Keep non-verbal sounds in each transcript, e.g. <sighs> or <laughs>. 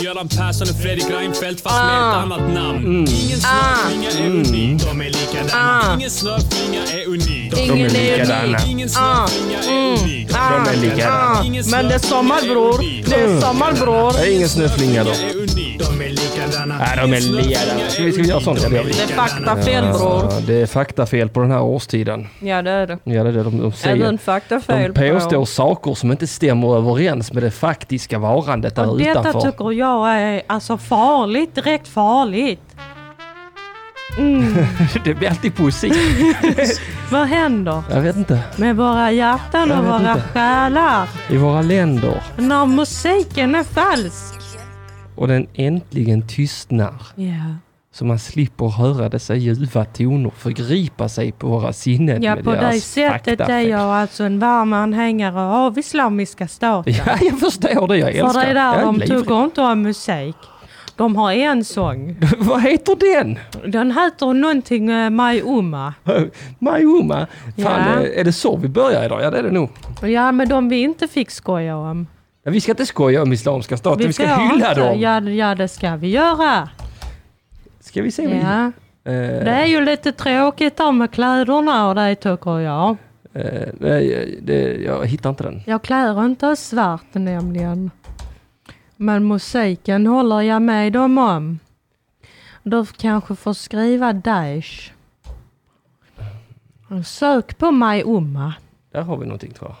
Göran Persson och Fredrik Reinfeldt fast med ett Ah. annat namn. Mm. Ingen snöflinga är unik, de är likadana. Ingen snöflinga är unik. Ah. Ingen De är är likadana. unik. Ah. Mm. Ingen snöflinga är unik. De är likadana. Mm. Ingen Men det är sommar snöflinga är bror. unik. Det är sommar bror. Jag är ingen snöflinga då. Snöflinga är unik. De är likadana. Nej, Ah, de är likadana. Ska vi, ska vi göra sånt? Eller? Det är faktafel bror. Ja, det är faktafel på den här årstiden. Ja det är det. Ja, det är det de, de Även säger. faktafel De bror. påstår saker som inte stämmer överens med det faktiska varandet där Och detta utanför. tycker jag är alltså farligt, direkt farligt. <laughs> Det blir alltid poesi. Vad händer Jag vet inte. med våra hjärtan Jag och vet våra inte. själar I våra länder när musiken är falsk? och den äntligen tystnar Ja, så man slipper höra dessa ljuva toner förgripa sig på våra sinnen ja med på det deras sättet är faktafel. jag alltså en varm anhängare av Islamiska staten. <laughs> Ja, jag förstår det. Jag För älskar det är där Jag de lever. tuggar inte om musik. De har en sång. <laughs> Vad heter den? <laughs> Den heter någonting eh, My Uma. Majuma. Fan, Ja. eh, är det så vi börjar idag? Ja, det är det nog. Ja, men de vi inte fick skoja om. Ja, vi ska inte skoja om Islamiska staten. Vi, ska får hylla inte. dem. Ja, ja, det ska vi göra. Ska vi se? Ja. Eh, Det är ju lite tråkigt där med kläderna och det tycker jag. eh, nej, det, jag hittar inte den. Jag klär inte svart nämligen. Men musiken håller jag med dem om. Du kanske får skriva Daesh. Sök på mig Umma. Där har vi någonting tror jag.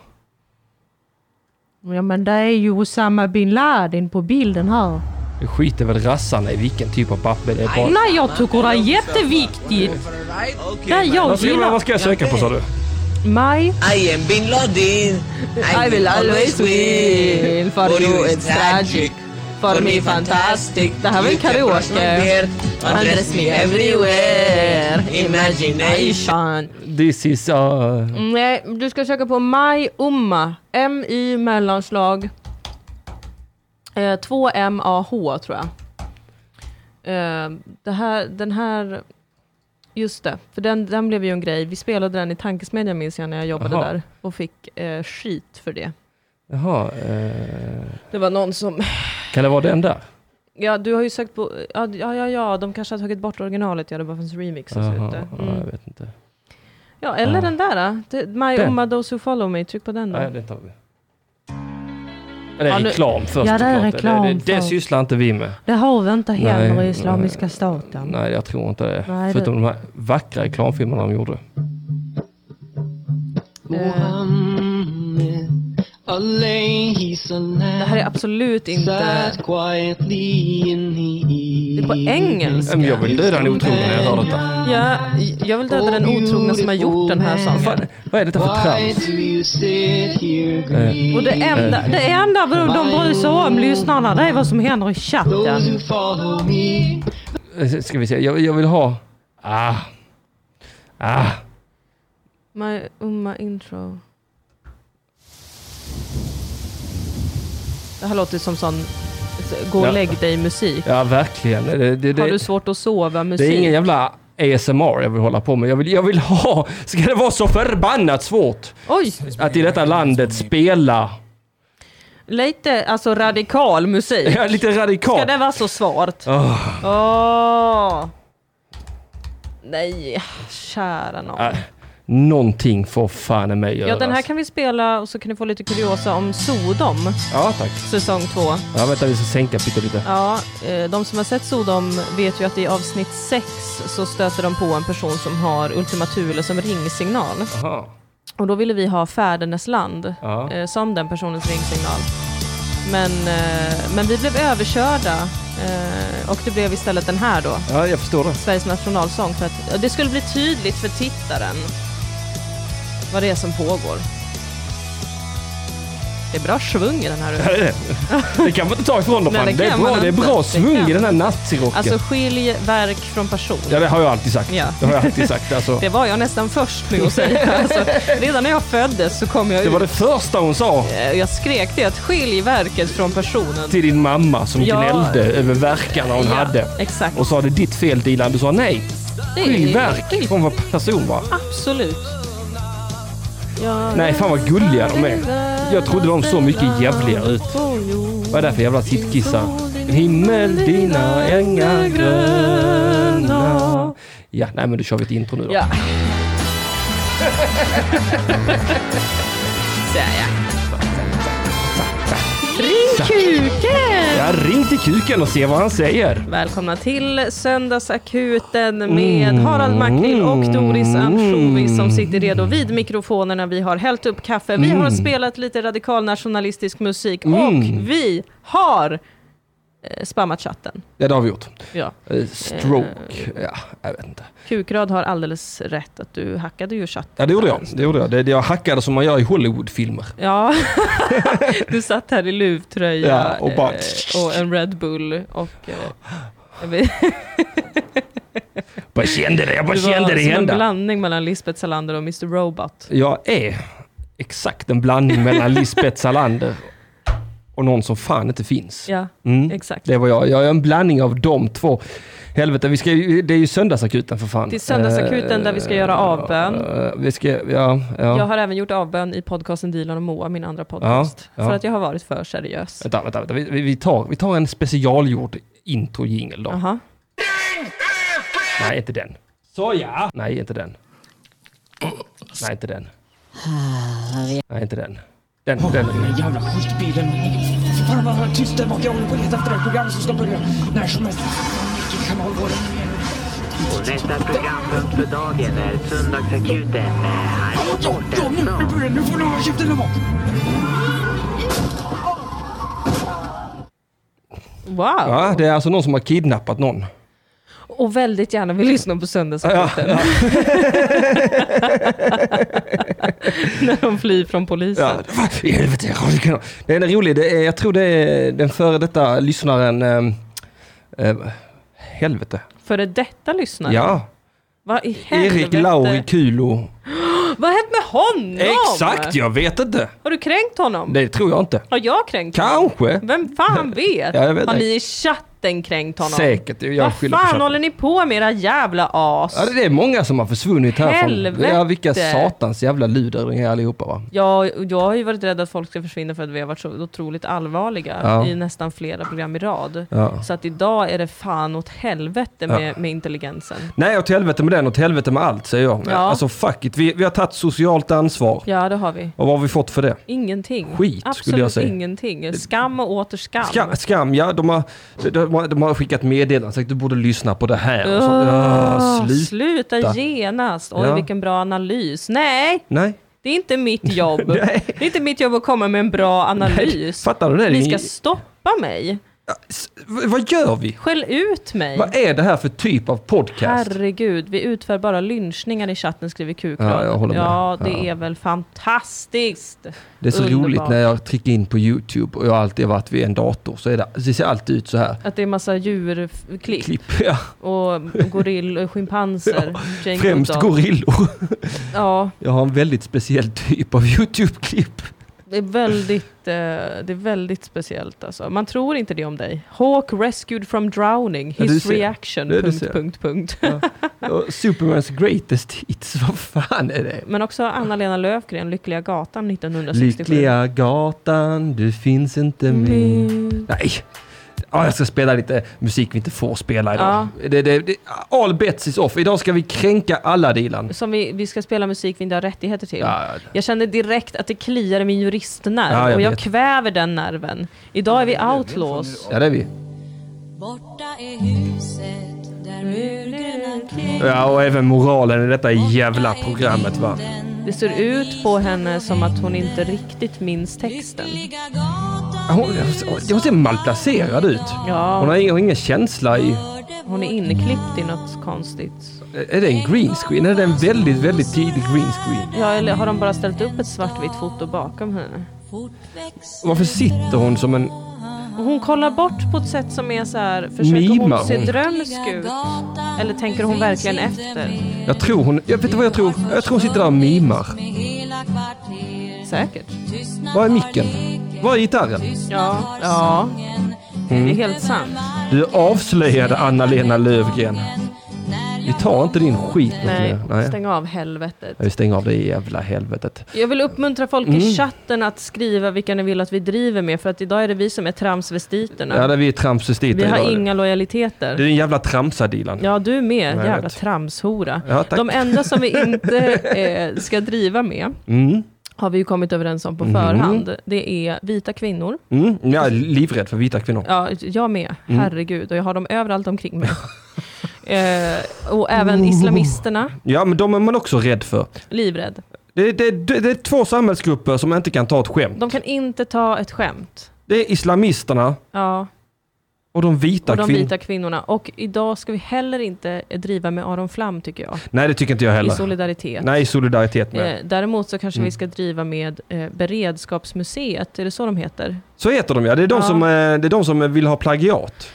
Ja men det är ju Osama bin Laden på bilden här. Det skiter väl rassarna i vilken typ av papper det är. Bara... Nej jag tycker det är jätteviktigt. Det är jag Vad ska, jag- gillar. vad ska jag söka på sa du? Maj. I am Bin Laden. I, will always win. For you it's tragic. For me fantastic. Det här var ju You can brush my karaoke. beard, Undress me everywhere. Imagination. This is... Uh... Nej, du ska söka på Maj Umma. M-I mellanslag. Eh, 2-M-A-H tror jag. Eh, det här, den här... Just det, för den, den blev ju en grej. Vi spelade den i Tankesmedjan minns jag när jag jobbade Jaha. där. Och fick eh, skit för det. Jaha. eh, Det var någon som... Kan det vara den där? Ja, du har ju sökt på... Ja, ja, ja, ja de kanske har tagit bort originalet. Ja, det bara fanns remixes Jaha, ute. ja, jag Mm. vet inte. Ja, eller Ja. den där. eh. Det- My Den. Umma Those Who Follow Me. Tryck på den då. Nej, det tar vi. Ja, Det är Ja, nu- reklam först Ja, det är såklart. reklam Det, det, det för- sysslar inte vi med. Det har vi inte heller Nej, i Islamiska staten. Nej, jag tror inte det. Nej, det- Förutom de här vackra reklamfilmerna de gjorde. Eh. Muhammad alayhi Det salam här är absolut inte... sat quietly in the Det är på engelska. Ja, men Jag vill döda en otrogen när jag hör detta. Ja, jag vill döda den otrogna som har gjort den här sången. Fan, vad är detta för Why trams? do you sit here grieving? Och det enda, det enda bro- de bryr sig om, lyssnarna, det är vad som händer i Those chatten. who follow me Eh, Ska vi se, jag, jag vill ha... Ah. Ah. My umma intro. Det här låter som sån gå och Ja. lägg dig musik. Ja, verkligen. Det, det, Har du det, svårt att sova det är musik? ingen jävla ASMR jag vill hålla på med. Jag vill, jag vill ha... Ska det vara så förbannat svårt Oj! att i detta landet spela... Lite alltså radikal musik. Ja, lite Ska radikalt. det vara så svårt? Åh. Åh. Nej, kära nån. Äh, någonting får fan i mig alltså. Ja, göras. den här kan vi spela och så kan ni få lite kuriosa om Sodom, Ja, tack. säsong två. Ja, vänta, vi ska sänka pyttelite. Ja, eh, de som har sett Sodom vet ju att i avsnitt sex så stöter de på en person som har Ultima Thule som ringsignal. Jaha. Och då ville vi ha Färdernes land Ja. eh, som den personens ringsignal. Men, eh, men vi blev överkörda eh, och det blev istället den här då. Ja, jag förstår det. Sveriges nationalsång för att ja, det skulle bli tydligt för tittaren vad det är som pågår. Det är bra svung i den här. <laughs> det, är det. det kan man inte ta ifrån dem. Nej, fan. det det, är kan bra, man det är inte. bra Det svung kan i den här nazirocken. Alltså skilj verk från person. ja, det har jag alltid sagt. Ja. Det har jag alltid sagt. Alltså. Det var jag nästan först med att <laughs> säga. Alltså, redan när jag föddes så kom jag Det ut. var det första hon sa Eh, Jag skrek det att skilj verket från personen. till din mamma som Ja. gnällde över verkarna hon hade. exakt. Och sa det är ditt fel Dilan. Du sa nej. Det är- Skilj verk från vad person var. Absolut. Ja. Nej, fan vad gulliga de är. Jag trodde de såg mycket jävligare ut. Vad är det för jävla sittkissar? Himmel, dina ängar gröna. Ja, nej men då kör vi ett intro nu då. Ja. Så ja. Ring kuken! Ja, ring till kuken och se vad han säger. Välkomna till Söndagsakuten med Mm. Harald Macklill och Doris Ansjovis som sitter redo vid mikrofonerna. Vi har hällt upp kaffe, vi Mm. har spelat lite radikal nationalistisk musik och vi har eh, spammat chatten. Ja, det har vi gjort. Ja. Eh, Stroke. Eh. Ja, jag vet inte. Kukrad har alldeles rätt att du hackade ju chatten. Ja, det gjorde jag. Det gjorde jag. Det, det jag hackade som man gör i Hollywoodfilmer. Ja, <laughs> du satt här i luvtröja Ja, och bara- eh, och en Red Bull och... <laughs> Eh, Jag bara kände det, jag bara Det var kände det som en hända. blandning mellan Lisbeth Salander och Mr Robot. Jag är exakt en blandning <laughs> mellan Lisbeth Salander och någon som fan inte finns. Ja, Mm. exakt. Det var jag. Jag är en blandning av de två. Helvete, vi ska ju, det är ju söndagsakuten för fan. Det är söndagsakuten där vi ska göra avbön. Eh, Vi ska, ja, ja. Jag har även gjort avbön i podcasten Dilan och Moa, min andra podcast. Ja, ja. För att jag har varit för seriös. Vänta, vänta, vänta. Vi, vi- vi, tar, vi tar en specialgjord intro-jingel då. Aha. Nej, inte den. Såja! Nej, inte den. Nej, inte den. Nej, inte den. Den, den. Den jävla skitbilen. Fan vad vad tyst det var. Jag håller på att leta efter ett program som ska börja när som helst. Vilken kanal var det? Nästa programpunkt för dagen är Söndagsakuten med Harry Ja, ja, nu, nu börjar det. Nu får du hålla käften där bak. Wow! Ja, det är alltså någon som har kidnappat någon. Och väldigt gärna vill lyssna på söndagsakuten. När de flyr från polisen. Ja, vad i helvete, jag kommer inte kunna- det är en rolig, det är, jag tror det är den före detta lyssnaren... ehm, ehm, helvete. Före detta lyssnare? Ja, Vad i helvete? Erik Lauri Kulo. Vad har hänt med honom? Exakt, jag vet inte. Har du kränkt honom? Det tror jag inte. Har jag kränkt honom? Kanske. Vem fan vet? Ja, jag vet har inte. ni i chatten kränkt honom? Säkert, jag Vad skyller på fan chatten. håller ni på med era jävla as? Ja, det är många som har försvunnit härifrån. Helvete. Ja, vilka satans jävla luderingar allihopa va? jag, jag har ju varit rädd att folk ska försvinna för att vi har varit så otroligt allvarliga Ja. i nästan flera program i rad. Ja. Så att idag är det fan åt helvete med, med intelligensen. Nej, åt helvete med den, åt helvete med allt säger jag. Ja. Alltså fuck it, vi, vi har tagit socialt ansvar. Ja, det har vi. Och vad har vi fått för det? Ingenting. Skit, skulle Absolut jag säga. ingenting. Skam och åter skam. Skam, skam ja, de har, de, har, de har skickat meddelanden sagt du borde lyssna på det här. Och så, Åh, Ah, slut. sluta genast. Oj, Ja. vilken bra analys. Nej, Nej, det är inte mitt jobb. <laughs> Nej. Det är inte mitt jobb att komma med en bra analys. fattar du det? Ni Din- ska stoppa mig. S- v- vad gör vi? Skäll ut mig. Vad är det här för typ av podcast? Herregud, vi utför bara lynchningar i chatten skriver kukrad. Ja, jag håller med. Ja, det Ja. är väl fantastiskt. det är så underbart. roligt när jag trycker in på YouTube och jag har alltid varit vid en dator så är det, det ser alltid ut så här. Att det är massa djurklipp Klipp, ja. och gorill, <laughs> schimpanser. Jane Främst Goodall. gorillor. Ja, Jag har en väldigt speciell typ av <laughs> YouTube-klipp. det är väldigt, eh, det är väldigt speciellt alltså. Man tror inte det om dig. Hawk rescued from drowning, Ja, du his ser. reaction, Ja, du punkt, ser. punkt, punkt. Och Supermans greatest hits, vad fan är det? Men också Anna-Lena Löfgren, Lyckliga gatan 1967. Lyckliga gatan, du finns inte mer. Nej. Ja, jag ska spela lite musik vi inte får spela idag. Det, det, det, all bets is off. Idag ska vi kränka alla Dilan. Som vi, vi ska spela musik vi inte har rättigheter till. Ja, ja. Jag kände direkt att det kliar i min juristnerv Ja, jag och jag vet. kväver den nerven. Idag är vi outlaws. Ja, det är vi. Borta är huset där murgröna kläder Ja, och även moralen i detta jävla programmet va. Det ser ut på henne som att hon inte riktigt minns texten. Hon, hon ser malplacerad ut. Ja. Hon har ingen, ingen känsla i... Hon är inklippt i något konstigt. Är det en green screen? Är det en väldigt, väldigt tidig green screen? Ja, eller har de bara ställt upp ett svartvitt foto bakom henne? Varför sitter hon som en... Och Hon kollar bort på ett sätt som är så här, försöker Mimar hon se hon? drömsk ut? Eller tänker hon verkligen efter? Jag tror hon... Jag vet du vad jag tror? Jag tror hon sitter där och mimar. Säkert. Var är micken? Var är gitarren? Ja. Ja. Det är helt sant. Mm. Du avslöjade Anna-Lena Lövgren. Vi tar inte din skit nu. Nej, Nej. stäng av helvetet. Ja, Vi stänger av det jävla helvetet. Jag vill uppmuntra folk Mm. i chatten att skriva vilka ni vill att vi driver med, för att idag är det vi som är tramsvestiterna. Ja, där vi är tramsvestiter vi har idag. inga lojaliteter. Det är din jävla tramsa Dilan. Ja, du med, jag jävla vet. tramshora. Ja, tack. De enda som vi inte eh, ska driva med, Mm. har vi ju kommit överens om på förhand, det är vita kvinnor. Mm. Jag är livrädd för vita kvinnor. Ja, jag med, Mm. herregud. Och jag har dem överallt omkring mig. <laughs> eh, och <laughs> även islamisterna, Ja, men de är man också rädd för. livrädd. Det, det, det, det är två samhällsgrupper som inte kan ta ett skämt. De kan inte ta ett skämt. Det är islamisterna Ja, och de vita och de kvinnorna. vita kvinnorna. Och idag ska vi heller inte eh, driva med Aron Flam, tycker jag. Nej, det tycker inte jag I heller. solidaritet. Nej, Mm. i solidaritet med. Eh, däremot så kanske vi ska driva med eh, Beredskapsmuseet, är det så de heter? Så heter de ja. Det är de, Ja. Som, eh, det är de som eh, vill ha plagiat.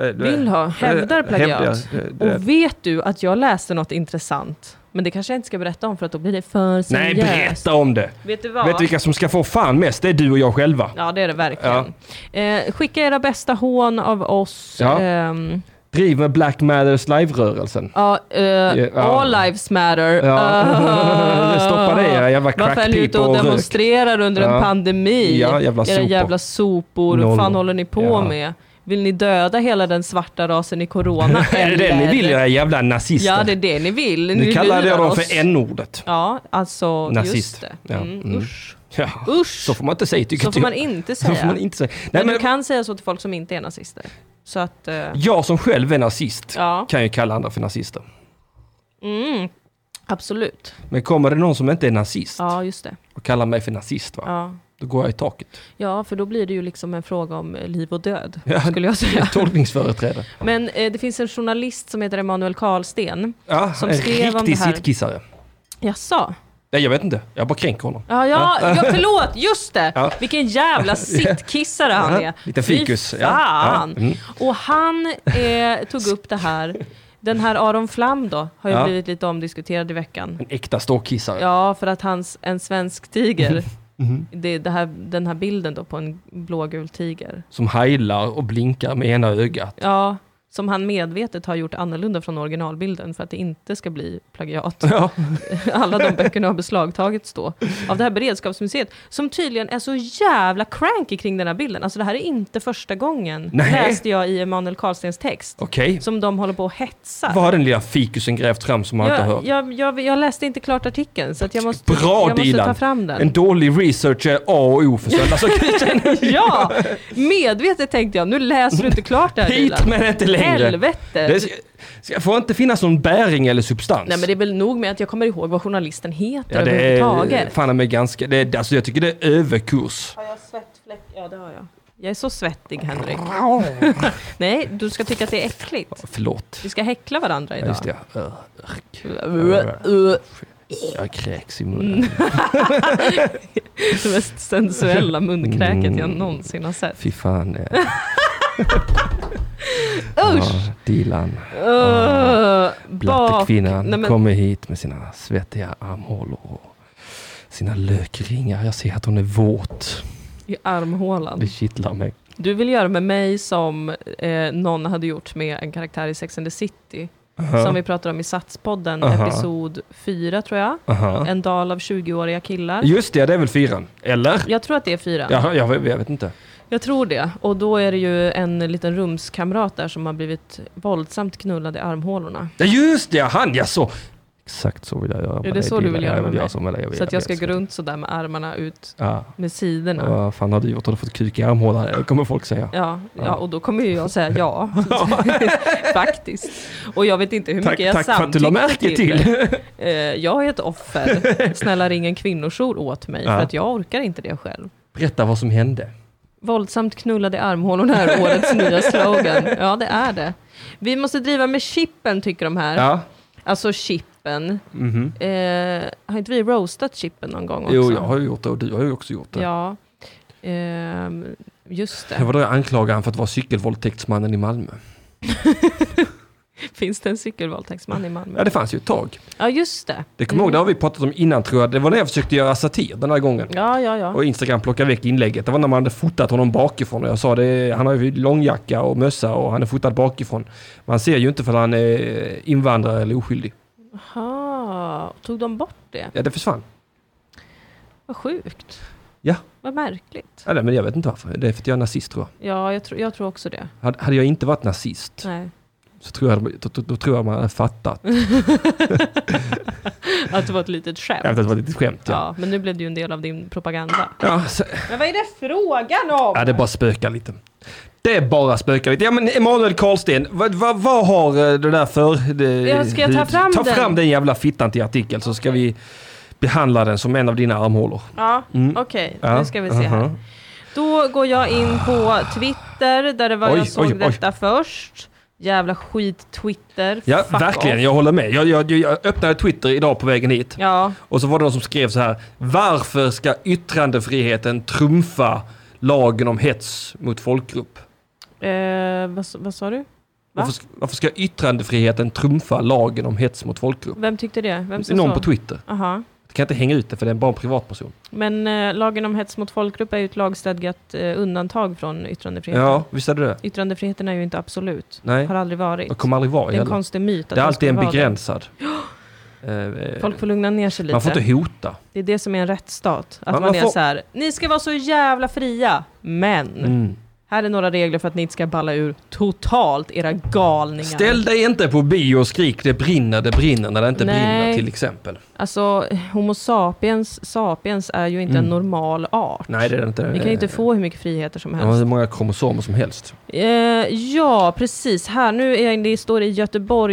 Eh, Vill ha, hävdar eh, plagiat. hävdar, eh, det- Och vet du att jag läste något intressant? Men det kanske jag inte ska berätta om för att då blir det för Nej, seriöst. berätta om det. Vet du vad? Vet du vilka som ska få fan mest? Det är du och jag själva. Ja, det är det verkligen. Eh, skicka era bästa hån av oss. Ja. Ehm, Driv med Black <laughs> Matters live-rörelsen. ja, eh, ja. All lives matter. <laughs> Ja. Stoppa det, era jävla Varför är ni ute crackpipor och och rök? demonstrerar under Ja. en pandemi? Ja, jävla era sopor. jävla sopor. Noll. Vad fan håller ni på Ja. med? Vill ni döda hela den svarta rasen i corona? Är <laughs> det det ni vill era jävla nazister? Ja, det är det ni vill. Ni nu kallar lurar jag dem oss. för n-ordet. Ja, alltså Nazist. just det. Ja. Mm, Mm. Usch. Ja. Usch! Så får man inte säga tycker Så får man jag. inte säga. <laughs> Så får man inte säga. Nej, men, men du kan säga så till folk som inte är nazister. Så att... eh, Jag som själv är nazist Ja. kan ju kalla andra för nazister. Absolut. Men kommer det någon som inte är nazist Ja, just det. och kallar mig för nazist, va? Ja. då går jag i taket. ja, för då blir det ju liksom en fråga om eh, liv och död, <laughs> Ja. skulle jag säga. Tolkningsföreträde. Men eh, det finns en journalist som heter Emanuel Karlsten. Ja, Som en skrev om riktig det här. sittkissare. Jaså? Nej, jag vet inte. Jag bara kränker honom. Ja, ja, ja, förlåt, just det! <laughs> Ja. Vilken jävla sittkissare han Ja, är. lite Fy fikus. Ja, ja. Fan. Mm. Och han eh, tog upp det här. Den här Aron Flam då, har ju Ja. blivit lite omdiskuterad i veckan. En äkta ståkissare. Ja, för att hans, en svensk Mm-hmm. tiger, det, det här, den här bilden då på en blågul tiger, Som heilar och blinkar med ena ögat. ja, som han medvetet har gjort annorlunda från originalbilden för att det inte ska bli plagiat. Ja. <laughs> Alla de böckerna har beslagtagits då av det här beredskapsmuseet, som tydligen är så jävla cranky kring den här bilden. Alltså det här är inte första gången, Nej. läste jag i Emanuel Karlstens text, Okej. som de håller på och hetsar. Vad har den lilla fikusen grävt fram som man inte har Jag, hört? jag, jag, jag läste inte klart artikeln, så att jag måste, Bra jag måste Dilan! ta fram den. En dålig research är A och O för Alltså, <laughs> söndagsakuten. Ja, medvetet tänkte jag. Nu läser du inte klart det här Hit Dilan. men inte längre. Helvete. Det ska, ska, får inte finnas någon bäring eller substans. Nej men det är väl nog med att jag kommer ihåg vad journalisten heter ja, det är överhuvudtaget. fan med ganska, det är, alltså jag tycker det är <laughs> överkurs. Har jag svettfläck? Ja det har jag. Jag är så svettig Henrik. Nej, du ska tycka att det är äckligt. Förlåt. Vi ska häckla varandra Ja, idag. just det. ja. Ö, örk. Uh, uh, Jag kräks i munnen. Det mest sensuella munkräket jag någonsin har sett. Fy fan. eh, <laughs> Ja, Dilan, Uh, bak. blattekvinnan, Nej, men- kommer hit med sina svettiga armhålor och sina lökringar. Jag ser att hon är våt. I Det armhålan. kittlar mig. Du vill göra med mig som eh, någon hade gjort med en karaktär i Sex and the City. Som vi pratade om i Satspodden, Aha. episod 4 tror jag. Aha. En dal av 20-åriga killar. Just det, det är väl fyran? Eller? Jag tror att det är fyra. Ja, jag, vet- jag vet inte. Jag tror det. Och då är det ju en liten rumskamrat där som har blivit våldsamt knullad i armhålorna. Ja, just det, han ja så. Exakt så vill jag göra. med det dig, så du Dilan. vill göra Jag med mig? som eller jag vill Så att göra jag ska gå det. runt sådär med armarna ut Ja. med sidorna. Ja, Vad fan har du gjort? Har du fått kuk i armhålan? Det kommer folk säga. Ja, ja, och då kommer ju jag säga <laughs> ja. <laughs> Faktiskt. Och jag vet inte hur mycket Tack, jag tack för att du la samtyckte märke till. <laughs> Eh, jag är ett offer. Snälla ring en kvinnojour åt mig, Ja. för att jag orkar inte det själv. Berätta vad som hände. Våldsamt knullade i armhålorna är årets nya <laughs> slogan. Ja, det är det. Vi måste driva med chippen, tycker de här. Ja. Alltså chippen. Mhm. Eh, har inte vi roastat chippen någon gång också? Jo, jag har ju gjort det och du har ju också gjort det. Ja. Ehm, just Det det. <laughs> var då jag anklagade han för att vara cykelvåldtäktsmannen i Malmö. Finns det en cykelvåldtäktsman i Malmö? Ja, det fanns ju ett tag. Ja, just det. Det kommer jag ihåg, det har vi pratat om innan tror jag. Det var när jag försökte göra satir den här gången. Ja, ja, ja. Och Instagram plockade väck inlägget. Det var när man hade fotat honom bakifrån. Och jag sa det, han har ju långjacka och mössa och han är fotad bakifrån. Man ser ju inte för han är invandrare eller oskyldig. Aha. Tog de bort det? Ja, det försvann. Vad sjukt. Ja, Vad märkligt. ja nej, men jag vet inte varför. Det är för att jag är nazist tror jag. Ja, jag, tror- jag tror också det. Hade- Hade jag inte varit nazist Nej. så tror jag, då, då, då tror jag man <laughs> hade fattat. Att det var ett litet skämt. Jag vet att det var lite skämt. Ja. Ja, men nu blev det ju en del av din propaganda. Ja, så, Men vad är det frågan om? ja, det bara spökar lite. Det är bara spökar lite. Ja, men Emanuel Karlsten, vad, vad, vad har eh, det där för... Det, Ja, ska jag ta fram ta den? fram den jävla fittan till artikeln så ska vi behandla den som en av dina armhålor. Uh-huh. Ja, Mm. okej. Nu ska vi se här. aha. Då går jag in på Twitter, där det var Oj, jag såg oj, oj. detta först. Jävla skit-Twitter. Ja, Fuck verkligen. off. Jag håller med. Jag, jag, jag öppnade Twitter idag på vägen hit. Ja, Och så var det någon som skrev så här. Varför ska yttrandefriheten trumfa lagen om hets mot folkgrupp? eh, vad, s- vad sa du? Varför, sk- varför ska yttrandefriheten trumfa lagen om hets mot folkgrupp? Vem tyckte det? Vem sa Någon så? på Twitter. Aha. Jag kan inte hänga ut det för det är bara en privatperson. Men eh, lagen om hets mot folkgrupp är ju ett lagstadgat eh, undantag från yttrandefriheten. Ja, visst är det det? Yttrandefriheten är ju inte absolut. Nej. Har aldrig varit. Jag kommer aldrig vara det är en heller. konstig myt. att Det är den alltid skulle en vara det. begränsad. <gasps> Eh, Folk får lugna ner sig lite. Man får inte hota. Det är det som är en rättsstat. Att Man- man, man är får- så här, ni ska vara så jävla fria, men Mm. här är några regler för att ni inte ska balla ur totalt, era galningar. Ställ dig inte på bio och skrik det brinner, det brinner när det inte Nej. brinner till exempel. Alltså, Homo sapiens, sapiens är ju inte Mm. en normal art. Nej, det är det inte. Vi kan ju inte få hur mycket friheter som De har helst. hur många kromosomer som helst. Eh, ja, precis. Här, nu är det, står det i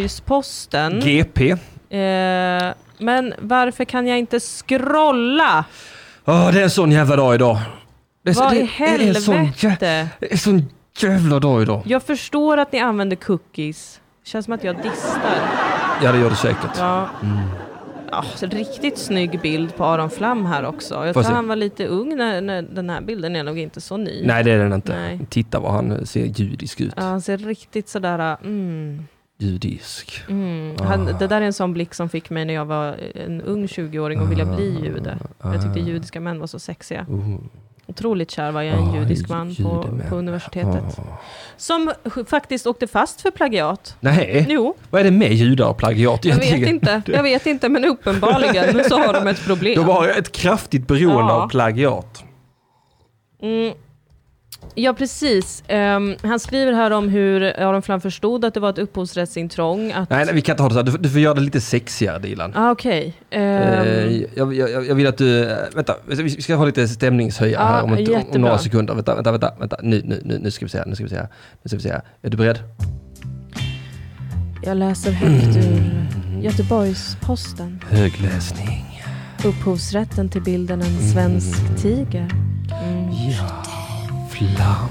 Göteborgs-Posten. GP. Eh, men varför kan jag inte scrolla? Åh, det är en sån jävla dag idag. Det är, så- Vad Alltså, det, i Det är en sån, jä, helvete? det är en sån jävla dag idag. Jag förstår att ni använder cookies. Känns som att jag distar. Ja, det gör det säkert. Ja. Mm. Ja, så riktigt snygg bild på Aron Flam här också. Jag Får tror se. han var lite ung när, när den här bilden är nog inte så ny. Nej, det är den inte. Nej. Titta vad han ser judisk ut. Ja, han ser riktigt sådär... äh, Mm, Judisk. mm. Ah. Han, det där är en sån blick som fick mig när jag var en ung 20-åring och ville bli Ah. jude. Jag tyckte judiska män var så sexiga. Otroligt kär var jag i en Oh. Ah, judisk ju- Ah. man på, judemän. på universitetet. Som faktiskt åkte fast för plagiat. Nej, Jo, vad är det med judar och plagiat jag vet egentligen? inte. Jag vet inte, men uppenbarligen så har de ett problem. De har ett kraftigt beroende Ja. av plagiat. Ja, precis. Ehm, han skriver här om hur Aron Flam förstod att det var ett upphovsrättsintrång. Att... Nej, nej, vi kan inte ha det så här. Du, du får göra det lite sexigare, Dilan. Ah, Okej. Eh, Ehm, jag, jag, jag vill att du, eh, vänta, vi vi ska ha lite stämningshöjare Ja, här om, ett, om- om jättebra. några sekunder. Vänta, vänta, vänta, vänta. Nu, nu, nu, nu ska vi se, här, nu ska vi se, här. nu ska vi se. här. Är du beredd? jag läser högt ur Göteborgs-Posten. Högläsning. Upphovsrätten till bilden En svensk tiger. Ja. Flam.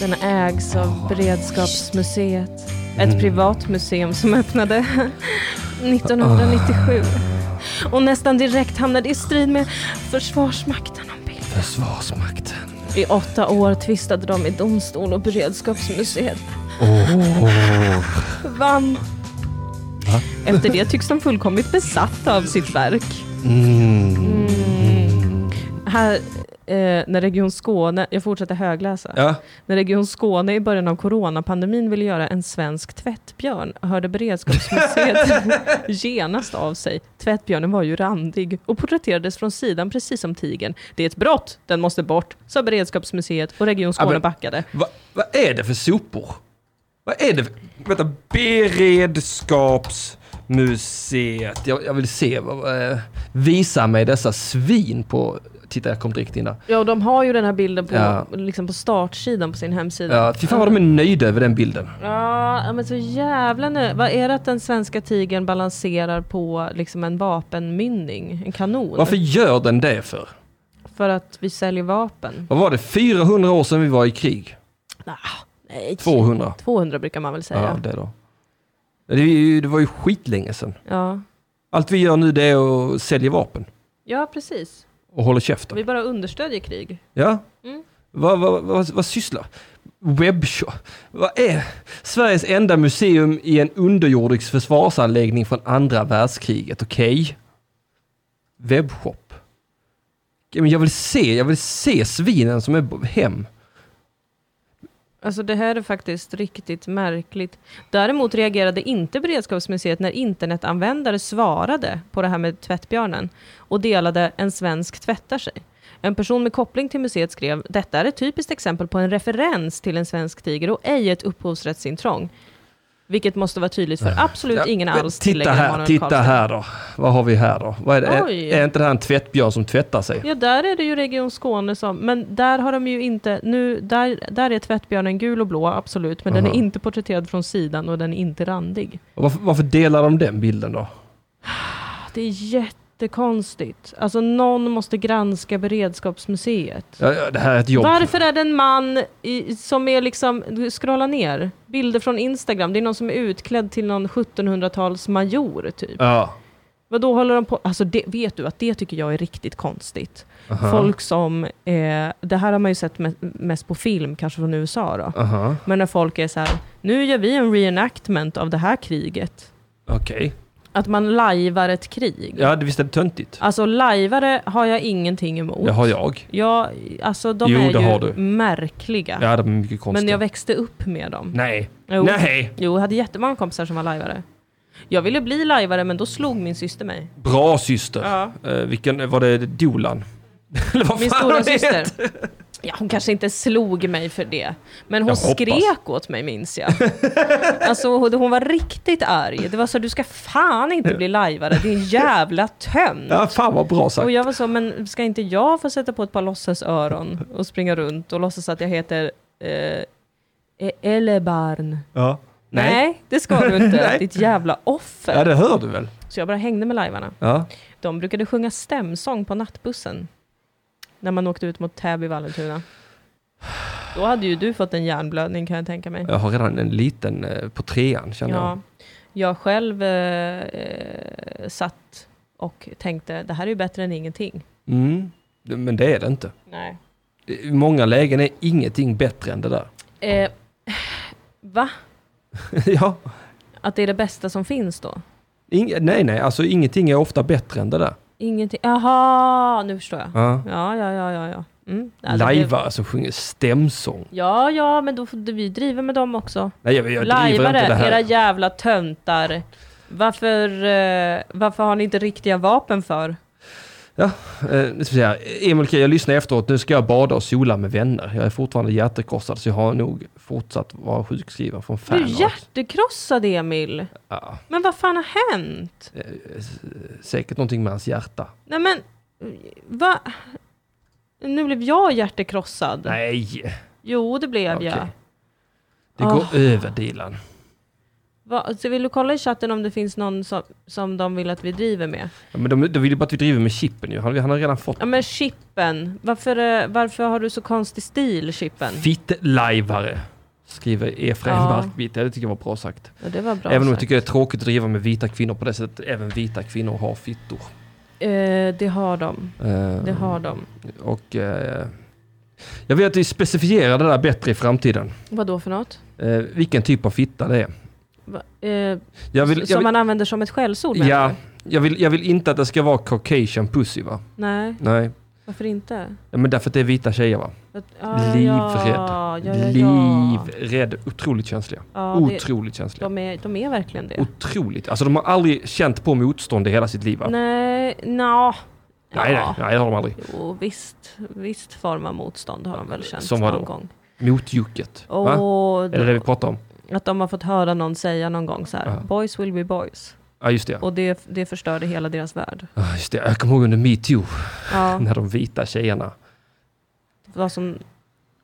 Den ägs av Beredskapsmuseet. Mm. Ett privat museum som öppnade <laughs> 1997. Och nästan direkt hamnade i strid med Försvarsmakten om bilden. Försvarsmakten. I åtta år tvistade de i domstol och beredskapsmuseet. Vann. Efter det tycks de fullkomligt besatta av sitt verk. Mm. Här, eh, när Region Skåne, jag fortsätter högläsa. Ja. När Region Skåne i början av coronapandemin ville göra en svensk tvättbjörn hörde <laughs> Beredskapsmuseet genast av sig. Tvättbjörnen var ju randig och porträtterades från sidan precis som tigern. Det är ett brott, den måste bort, sa Beredskapsmuseet och Region Skåne Ja, men- backade. Va, vad är det för sopor? Vad är det för, vänta, beredskapsmuseet. Jag, jag vill se, vad, eh, visa mig dessa svin på, titta jag kom direkt in där. Ja, och de har ju den här bilden på, Ja. liksom på startsidan på sin hemsida. Ja, fy fan vad de är nöjda över den bilden. Ja, ja, men så jävla nu. Vad är det att den svenska tigern balanserar på liksom en vapenmynning, en kanon? Varför gör den det för? För att vi säljer vapen. Vad var det? 400 år sedan vi var i krig? Nej, 200? 200 brukar man väl säga. Ja, det då. Det, är ju, det var ju skitlänge sedan. Ja, Allt vi gör nu det är att sälja vapen ja precis. och hålla käften. Vi bara understödjer krig. Mm. Ja? Vad, vad, vad, vad sysslar? Webbshop? Vad är... Sveriges enda museum i en underjordisk försvarsanläggning från andra världskriget. Okej? Webbshop. Ja, men Jag vill se, jag vill se svinen som är b- hem. Alltså det här är faktiskt riktigt märkligt. Däremot reagerade inte Beredskapsmuseet när internetanvändare svarade på det här med tvättbjörnen och delade “En svensk tvättar sig”. En person med koppling till museet skrev “Detta är ett typiskt exempel på en referens till en svensk tiger och ej ett upphovsrättsintrång”. Vilket måste vara tydligt för absolut Ja, ingen men alls, titta tillägger här, Emanuel titta Karlsson. här då. Vad har vi här då? Vad är, det? Oj. är, är inte det här en tvättbjörn som tvättar sig? Ja, där är det ju Region Skåne som, men där har de ju inte, nu, där, där är tvättbjörnen gul och blå, absolut, men den Aha. är inte porträtterad från sidan och den är inte randig. Och Varför, varför delar de den bilden då? Det är jättekonstigt. Alltså någon måste granska beredskapsmuseet. Ja, ja, det här är ett jobb. Varför är det en man i, som är liksom, scrolla ner, bilder från Instagram, det är någon som är utklädd till någon 1700-tals major typ. Ja. Vad då håller de på? Alltså det, vet du att det tycker jag är riktigt konstigt. Folk som, eh, det här har man ju sett me- mest på film, kanske från USA då. Aha. Men när folk är så här, nu gör vi en reenactment av det här kriget. Okej. Att man lajvar ett krig. Ja, det- visst är det töntigt? Alltså lajvare har jag ingenting emot. Det har jag. Ja, alltså de Jo, är det har du. ju märkliga. Ja, de är mycket men konstiga. jag växte upp med dem. Nej. Jo. Nej! Jo, jag hade jättemånga kompisar som var lajvare. Jag ville bli lajvare, men då slog min syster mig. Bra syster. Ja. Eh, vilken, var det Dolan? <laughs> Eller vad Min fan stora hon syster. heter? Ja, hon kanske inte slog mig för det, men hon Jag hoppas. skrek åt mig minns <laughs> jag. Alltså hon hon var riktigt arg. Det var så du ska fan inte bli lajvare, din jävla tönt. Ja, fan vad bra sagt. Och jag var så, men ska inte jag få sätta på ett par låtsasöron och springa runt och låtsas att jag heter eh, E- Elebarn? Ja. Nej. Nej. det ska du inte. <laughs> Nej. Ditt jävla offer. Ja, det hör du väl? Så jag bara hängde med lajvarna. Ja. De brukade sjunga stämsång på nattbussen. När man åkte ut mot Täby, Vallentuna. Då hade ju du fått en hjärnblödning kan jag tänka mig. Jag har redan en liten eh, på trean, känner Ja, jag själv eh, eh, satt och tänkte, det här är ju bättre än ingenting. jag. Mm. Det- Men det är det inte. Nej. I många lägen är ingenting bättre än det där. <laughs> Eh, va? ja. Att det är det bästa som finns då? Inge, nej, nej, alltså ingenting är ofta bättre än det där. Ingenting? Jaha, nu förstår jag. Ja. Ja, ja, ja, ja. ja. Mm. Ja, det- Lajvare som sjunger stämsång. Ja, ja, men då får vi driver med dem också. Nej, jag, jag driver Lajvare, inte det era här. jävla töntar. Varför, eh, varför har ni inte riktiga vapen för? Eh, nu ska vi se här. Emil, okej, jag lyssnar efteråt. Nu ska jag bada och sola med vänner. Jag är fortfarande hjärtekrossad så jag har nog fortsatt vara sjukskriven från Du är fanart. hjärtekrossad Emil. Ja, Men vad fan har hänt? säkert någonting med hans hjärta. Nej men, va? Nu blev jag hjärtekrossad. Nej, Jo, det blev Okej. jag. det Ah. går över Dilan. Va, så vill du kolla i chatten om det finns någon som, som de vill att vi driver med? Ja, men de, de vill ju bara att vi driver med chippen ju. Han, han har redan fått Ja men Chippen, varför, eh, varför har du så konstig stil Chippen? fittlajvare. Skriver Efraim Mm. Ja. Barkvit. Ja, det tycker jag var bra sagt. Ja, det var bra även om jag sagt. tycker det är tråkigt att driva med vita kvinnor på det sättet. Även vita kvinnor har fittor. eh, Det har de, Eh, det har de. Och eh, jag vill att vi specifierar det där bättre i framtiden. Vad då för något? Eh, vilken typ av fitta det är. Va, eh, Jag vill, som jag vill, man använder som ett skällsord? menar ja, du? jag, vill, jag vill inte att det ska vara caucasian pussy va? Nej, Nej. varför inte? Ja, men därför att det är vita tjejer va? Att- ah, Livrädd. Ja, ja, ja, ja. Livrädd. Otroligt känsliga. Ja, det- Otroligt känsliga. De är, de är verkligen det. Otroligt. Alltså de har aldrig känt på motstånd i hela sitt liv va? Nej, nja. Nej, nej, Ja. nej, det har de aldrig. Jo, visst, visst form av motstånd har de väl känt Som vadå? någon gång. Motjucket. va? Och Är det det vi pratar om? att de har fått höra någon säga någon gång så här, Ja. boys will be boys. Ja, just det. Och det, det förstörde hela deras <laughs> värld. Ja, just det. Jag kommer ihåg under metoo, Ja, när de vita tjejerna det var som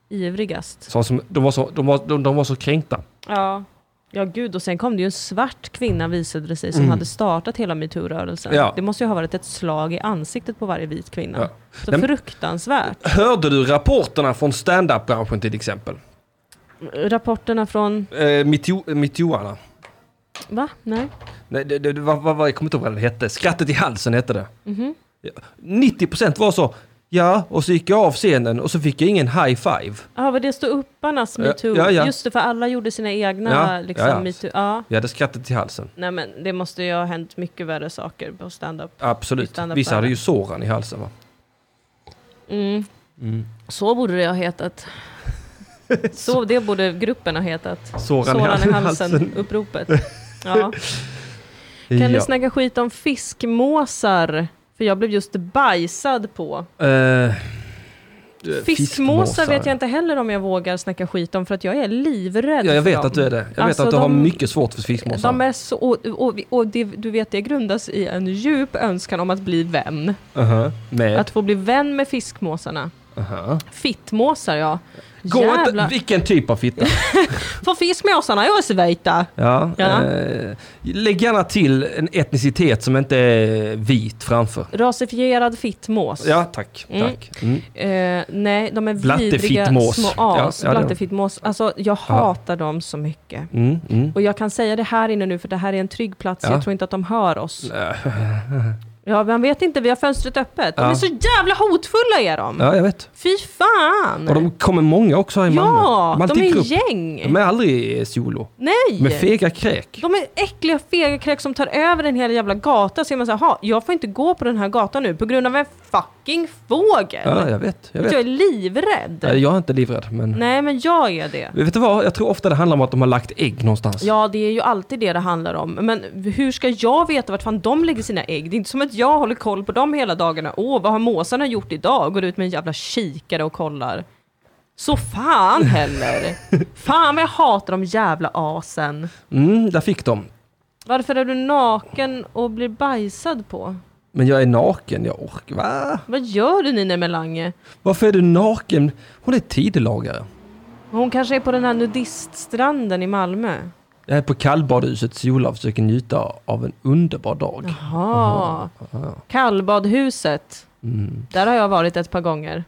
ivrigast. Så som, de, var så, de, var, de, de var så kränkta. Ja. Ja gud, och sen kom det ju en svart kvinna visade det sig som hade startat hela metoo-rörelsen. Mm. Ja. Det måste ju ha varit ett slag i ansiktet på varje vit kvinna. Ja. Så Den- fruktansvärt. Hörde du rapporterna från stand-up-branschen till exempel? Rapporterna från, Eh, metoo- Metooarna. va? Nej? Nej, det, Mhm. det, det, vad, vad, vad, jag kommer inte ihåg vad det hette. Skrattet i halsen hette det. Ja. 90% var så, Ja, och så gick jag av scenen och så fick jag ingen high five. Ja, ah, var det ståupparnas Ja, metoo? ja, ja. Just det, för alla gjorde sina egna Ja, liksom, ja, ja. metoo. Ja. Jag hade skrattat till halsen. Nej men det måste ju ha hänt mycket värre saker på stand-up. Absolut. Utan att Vissa bara- hade ju såren i halsen va? Mm. Så borde det ha <laughs> hetat. Så det borde gruppen ha hetat. Såran i Såran i halsen. <laughs> halsen-uppropet. Ja. Kan ni ja. snacka skit om fiskmåsar? För jag blev just bajsad på. Eh, Fiskmåsar vet ja. jag inte heller om jag vågar snacka skit om för att jag är livrädd Ja, jag för vet dem. att du är det. Jag Alltså, vet att du har de- mycket svårt för fiskmåsar. De är så, och, och, och det, du vet det grundas i en djup önskan om att bli vän. Aha, Med? Att få bli vän med fiskmåsarna. Aha. Fittmåsar ja. Gå inte, Jävlar. vilken typ av fitta? För fiskmåsarna är också vita. Ja, Ja. Eh, lägg gärna till en etnicitet som inte är vit framför. Rasifierad fittmås. Ja, tack. Mm. tack. Mm. Eh, nej, de är vidriga Blattefittmås. små Ja, as. ja, det är de. Blattefittmås. Alltså, jag hatar dem så mycket. Mm, mm. Och jag kan säga det här inne nu, för det här är en trygg plats. Ja. Jag tror inte att de hör <laughs> oss. Ja, man vet inte. Vi har fönstret öppet. De Ja. är så jävla hotfulla, är de. Ja, jag vet. Fy fan! Och de kommer många också här i Malmö. ja, Man de sticker är upp. gäng. De är aldrig solo. nej! De är fega kräk. De är äckliga fegakräk som tar över en hel jävla gata. Så är man så här, "Ha, jag får inte gå på den här gatan nu på grund av en fucking fågel. Ja, jag vet. Jag, jag, vet. är livrädd. Nej, jag är inte livrädd, men... Nej, men jag är det. Vet du vad? Jag tror ofta det handlar om att de har lagt ägg någonstans. Ja, det är ju alltid det det handlar om. Men hur ska jag veta vart fan de lägger sina ägg? Det är inte som att jag håller koll på dem hela dagarna. Åh, vad har måsarna gjort idag? Går ut med en jävla kikare och kollar. Så fan heller! fan vad jag hatar de jävla asen. Mm, där fick de. Varför är du naken och blir bajsad på? Men jag är naken, jag orkar. Va? Vad gör du Nina Melange? Varför är du naken? Hon är tidelagare. Hon kanske är på den här nudiststranden i Malmö. Jag är på kallbadhuset Sola och försöker njuta av en underbar dag. Jaha. Kallbadhuset. Där har jag varit ett par gånger.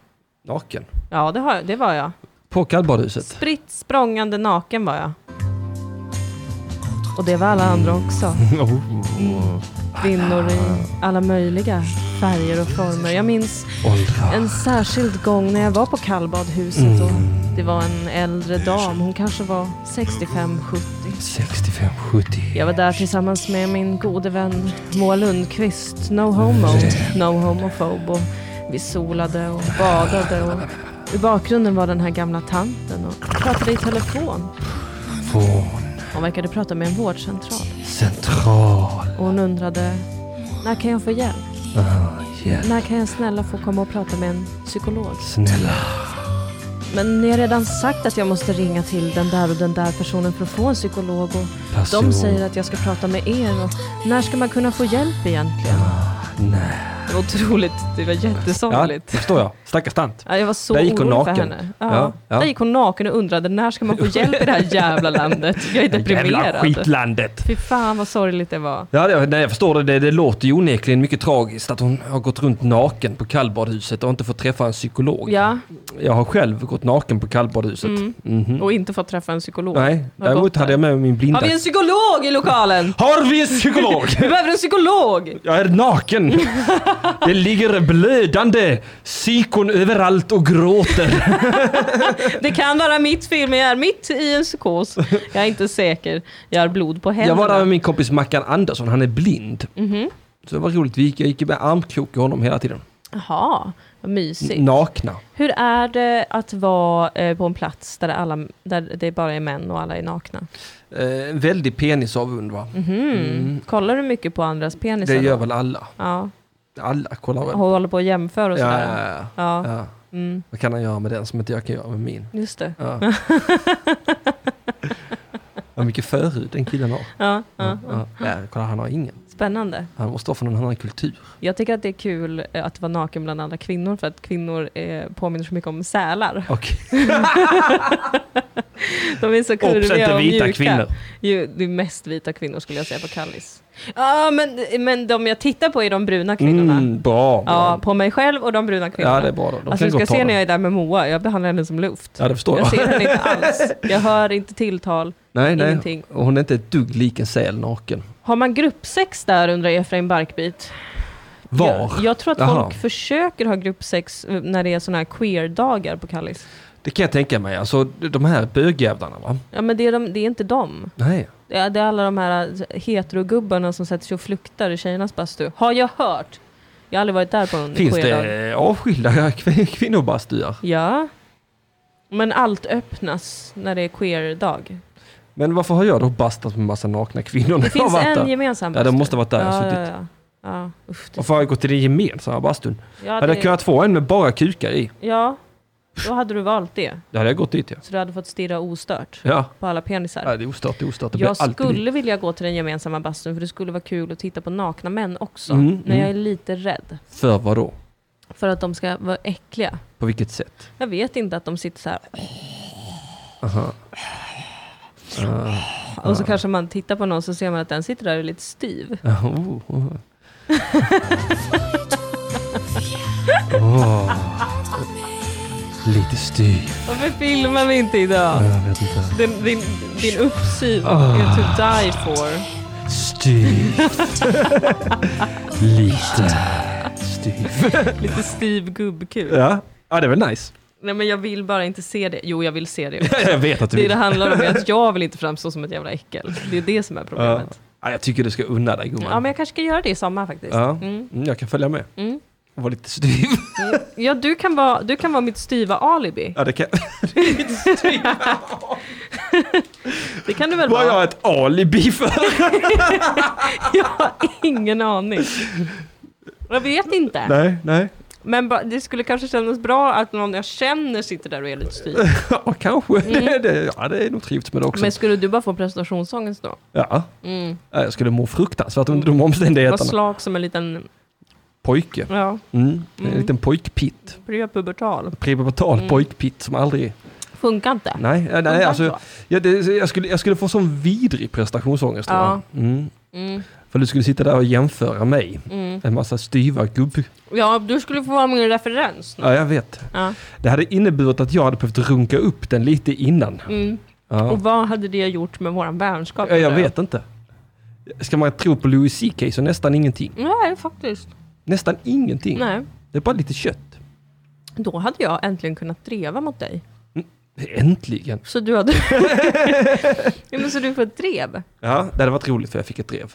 Naken. Ja, det, har jag, det var jag. På kallbadhuset. Spritt språngande naken var jag. Och det var alla andra också. Kvinnor i alla möjliga färger och former. Jag minns Åldrar. en särskild gång när jag var på kallbadhuset och det var en äldre dam. Hon kanske var 65-70. 65, 70. Jag var där tillsammans med min gode vän Moa Lundqvist, no homo, no homophob. Och vi solade och badade och i bakgrunden var den här gamla tanten och pratade i telefon. Från Hon verkade prata med en vårdcentral central. och hon undrade när kan jag få hjälp? Ah, Hjälp, När kan jag snälla få komma och prata med en psykolog? snälla. Men ni har redan sagt att jag måste ringa till den där och den där personen för att få en psykolog och de Person. säger att jag ska prata med er och när ska man kunna få hjälp egentligen? Ah, Nej. Det var otroligt, det var Ja, det jättesorgligt. förstår jag. Stackars tant. Ja, jag var så Där gick hon orolig för naken. henne. Ja, ja. Där gick hon naken och undrade när ska man få hjälp i det här jävla landet? Jag är <laughs> Jävla deprimerad. skitlandet. Fy fan vad sorgligt det var. Ja, det, nej, jag förstår det. det. Det låter ju onekligen mycket tragiskt att hon har gått runt naken på kallbadhuset och inte fått träffa en psykolog. Ja, Jag har själv gått naken på kallbadhuset. Mhm. och inte fått träffa en psykolog. Nej, Vad gott däremot det hade jag med min blinda. Har vi en psykolog i lokalen? Har vi en <laughs> psykolog? Vi behöver en psykolog! Jag är naken. Det ligger blödande psykon överallt och gråter. Det kan vara mitt fel, men jag är mitt i en psykos. Jag är inte säker. Jag har blod på Jag händerna. var där med min kompis Mackan Andersson, han är blind. Mhm. Så det var roligt, vi gick, jag gick med armkrok i honom hela tiden. Jaha, vad mysigt. Nakna. Hur är det att vara eh, på en plats där, alla, där det bara är män och alla är nakna? Eh, väldigt penisavund va? Mm. Kollar du mycket på andras penisar? Det gör då? väl alla. Ja, Alla kollar och väl. håller på och jämför och Ja, sådär. ja, Ja. ja. Ja. Mm, Vad kan han göra med den som inte jag kan göra med min? just det. Ja. <laughs> Vad mycket förhud den killen har. Ja, ja. Ja. Ja. Kolla, han har ingen. Spännande. Han måste vara från en annan kultur. Jag tycker att det är kul eh, att vara naken bland andra kvinnor för att kvinnor eh, påminner så mycket om sälar. <laughs> Okej. De är så kurviga och mjuka. kvinnor. Ju, det är mest vita kvinnor skulle jag säga på Kallis. Ja, men, men de jag tittar på är de bruna kvinnorna. Mm, bra, bra. Ja, på mig själv och de bruna kvinnorna. Ja, det är bra då. De alltså kan du ska gå och ta se den. när jag är där med Moa, jag behandlar henne som luft. Ja, det förstår jag. Jag ser henne inte alls. Jag hör inte tilltal. nej, nej. ingenting. Och Hon är inte ett dugg lik en säl naken. Har man gruppsex där undrar Efraim Barkbit? Var? Jag, jag tror att folk Jaha. försöker ha gruppsex eh, när det är såna här queer-dagar på Kallis. Det kan jag tänka mig. Alltså de här bögjävlarna va? Ja, men det är, de, det är inte dem. Nej. Det är, det är alla de här eh, heterogubbarna som sätter sig och fluktar i tjejernas bastu. Har jag hört! Jag har aldrig varit där på en Finns queerdag. det avskilda <laughs> kvin- kvinnobastuar? Ja. Men allt öppnas när det är queer-dag. Men varför har jag då bastat med massa nakna kvinnor när Det <laughs> jag har finns varit en där? gemensam Ja, de måste ha varit där alltså, och Ja, suttit. ja, ja. ja. Uff, det, Varför har jag gått till den gemensamma bastun? ja, Hade jag det, kunnat få en med bara kukar i, ja, då hade du valt det. då hade jag gått dit ja. Så du hade fått stirra ostört Ja, på alla penisar. ja det är ostört, det är ostört. Det blir Jag alltid mitt. skulle vilja gå till den gemensamma bastun för det skulle vara kul att titta på nakna män också. Mm, men mm. jag är lite rädd För vad då? för att de ska vara äckliga. På vilket sätt? Jag vet inte att de sitter så här Aha. och så kanske man tittar på någon så ser man att den sitter där och är lite styv. Oh, oh. <laughs> Åh. Lite styv. Varför filmar vi inte idag? Jag vet inte. Din, din, din uppsyn Ah. är to die for. <laughs> Styv. Lite styv. Lite styv gubbkul. Ja. ja, det är väl nice. Nej men jag vill bara inte se det. Jo jag vill se det. <laughs> Jag vet att du Det det vill. handlar om är att jag vill inte framstå som ett jävla äckel. Det är det som är problemet. Ja, jag tycker du ska unna dig gumman. Ja men jag kanske ska göra det i sommar faktiskt. Ja. Mm. Mm, Jag kan följa med. Mm. Och vara <laughs> lite styv. Ja, du kan vara, du kan vara mitt styva <laughs> alibi. <laughs> Ja, det kan... Det kan du väl Vad har vara? jag ett alibi för? <laughs> Jag har ingen aning. Jag vet inte. Nej, nej. Men ba- det skulle kanske kännas bra att någon jag känner sitter där och är lite <laughs> styv. Ja, kanske. Det, det, ja, det är nog trivts med det också. Mm. Men skulle du bara få prestationsångest då? Ja. Mm. Ja, Jag skulle må fruktansvärt under de omständigheterna. Vara slak som en liten, Pojke. ja, Mm. En Mm. liten pojkpitt. prepubertal. Prepubertal Mm. pojkpitt som aldrig... Funkar inte. Nej, ja, nej Funkar alltså. inte Jag, det, jag, skulle, jag skulle få sån vidrig prestationsångest. Ja. tror jag. Mm. så. Mm, För du skulle sitta där och jämföra mig. mm. En massa styva gubb... Ja, du skulle få vara min referens. nu. Ja, jag vet. Ja. Det hade inneburit att jag hade behövt runka upp den lite innan. Mm. Ja. Och vad hade det gjort med våran vänskap? Ja, jag tror vet inte. Ska man tro på Louis CK så nästan ingenting. Nej, faktiskt. Mm. Nästan ingenting. Nej. Det är bara lite kött. Då hade jag äntligen kunnat dreva mot dig. Äntligen. Så du <laughs> hade... ja, men så du får ett drev. Ja, det hade varit roligt för jag fick ett drev.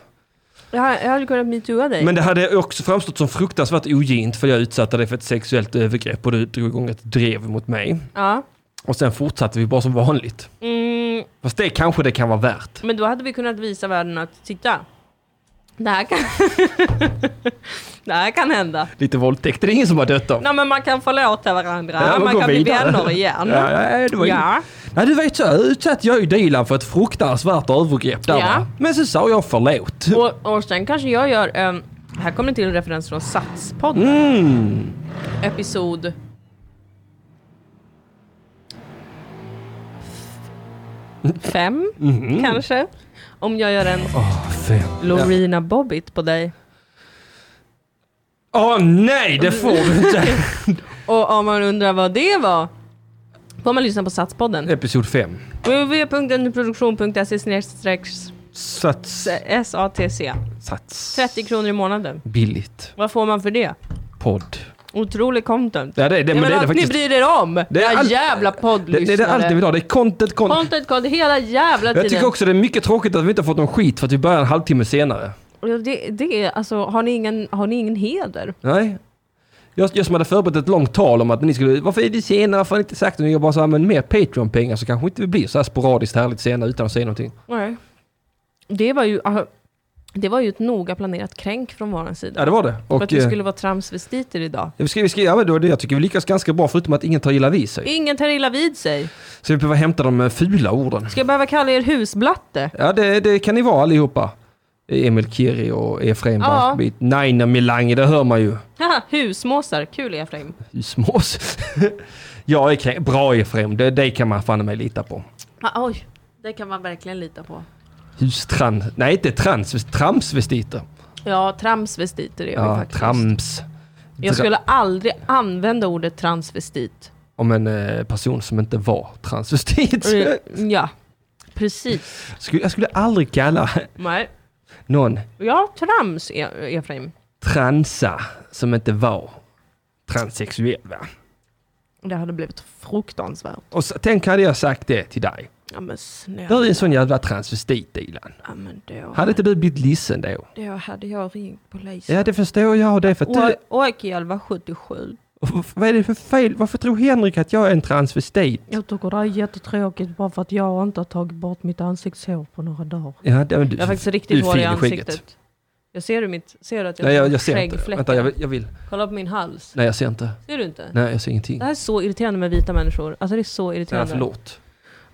Jag hade, jag hade kunnat metooa dig. Men det hade också framstått som fruktansvärt ogint för jag utsatte dig för ett sexuellt övergrepp och du drog igång ett drev mot mig. Ja. Och sen fortsatte vi bara som vanligt. Mm, Fast det kanske det kan vara värt. men då hade vi kunnat visa världen att titta. Det här kan, <laughs> det här kan hända. Lite våldtäkt, det är ingen som har dött om. Nej, men man kan förlåta varandra. Ja, man man går kan bli vidare. vänner igen. Ja, ja, det var ju... Ja. Nej, du vet så, utsatte jag ju Dilan för ett fruktansvärt övergrepp där Ja. va? Men så sa jag förlåt. Och, och sen kanske jag gör... ehm, här kommer det till en referens från Satspodden. Mm. Episod... Fem, Mm-hmm. kanske. Om jag gör en Åh, fem. Lorena Bobbitt på dig. Åh nej, det får du inte! <laughs> Och om man undrar vad det var får man lyssna på Satspodden. Episod 5. www.produktion.se Sats. SATC. Sats. 30 kronor i månaden. Billigt. Vad får man för det? Podd. Otrolig content. Ja, det, det, Ja, men det är det allt ni faktiskt. bryr er om! Det är Era allt- jävla Det, det, poddlyssnare. det är allt vi vill ha. Det är content, content. Content, content, hela jävla Jag tiden. tycker också det är mycket tråkigt att vi inte har fått någon skit för att vi börjar en halvtimme senare. Ja, Det, det är, alltså, har ni ingen, har ni ingen heder? Nej. Jag, jag som hade förberett ett långt tal om att ni skulle, varför är det senare, varför har ni inte sagt något? Jag bara sa, men mer Patreon-pengar så kanske inte vi blir så här sporadiskt härligt senare utan att säga någonting. Nej. Det var ju, aha, det var ju ett noga planerat kränk från vår sida. Ja, det var det. Och, för att vi eh, skulle vara transvestiter idag. vi ska, vi ska, ja, men då, är det- jag tycker vi lyckas ganska bra förutom att ingen tar illa vid sig. Ingen tar illa vid sig. Så vi behöver hämta de eh, fula orden. Ska jag behöva kalla er husblatte? Ja, det, det kan ni vara allihopa. Emil Kiri och Efraim Ja. Barkbit. Naina Milange, det hör man ju. <laughs> Haha, husmåsar. Kul Efraim. Smås. <laughs> ja, Efraim- bra Efraim. Det, det kan man fan mig lita på. Ah, oj, det kan man verkligen lita på. Hustrans... Nej, inte trans. Tramsvestiter. Ja, transvestiter är jag ju Ja, faktiskt. trams. jag skulle aldrig använda ordet transvestit. Om en eh, person som inte var transvestit. <laughs> Eh, Ja, precis. Skulle, jag skulle aldrig kalla Nej. någon Ja, trams E- Efraim. transa som inte var transsexuell. Va? Det hade blivit fruktansvärt. Och så, tänk hade jag sagt det till dig. Ja men Du är snälla. en sån jävla transvestit Dilan. Ja, men då, Hade inte du blivit ledsen då? då hade jag ringt polisen. Ja det förstår jag och det är för att du... Åkiel var 77. Vad är det för fel? Varför tror Henrik att jag är en transvestit? Jag tycker det är jättetråkigt bara för att jag inte har tagit bort mitt ansiktshår på några dagar. Ja, det, men du, Jag har faktiskt du riktigt hår i fin skägget. ansiktet. Jag ser du mitt, ser du att jag, Nej, har jag, jag ser inte. skäggfläckar? Vänta, jag vill, jag vill. Kolla på min hals. Nej, jag ser inte. Ser du inte? Nej, jag ser ingenting. Det här är så irriterande med vita människor. Alltså det är så Nej, irriterande. förlåt.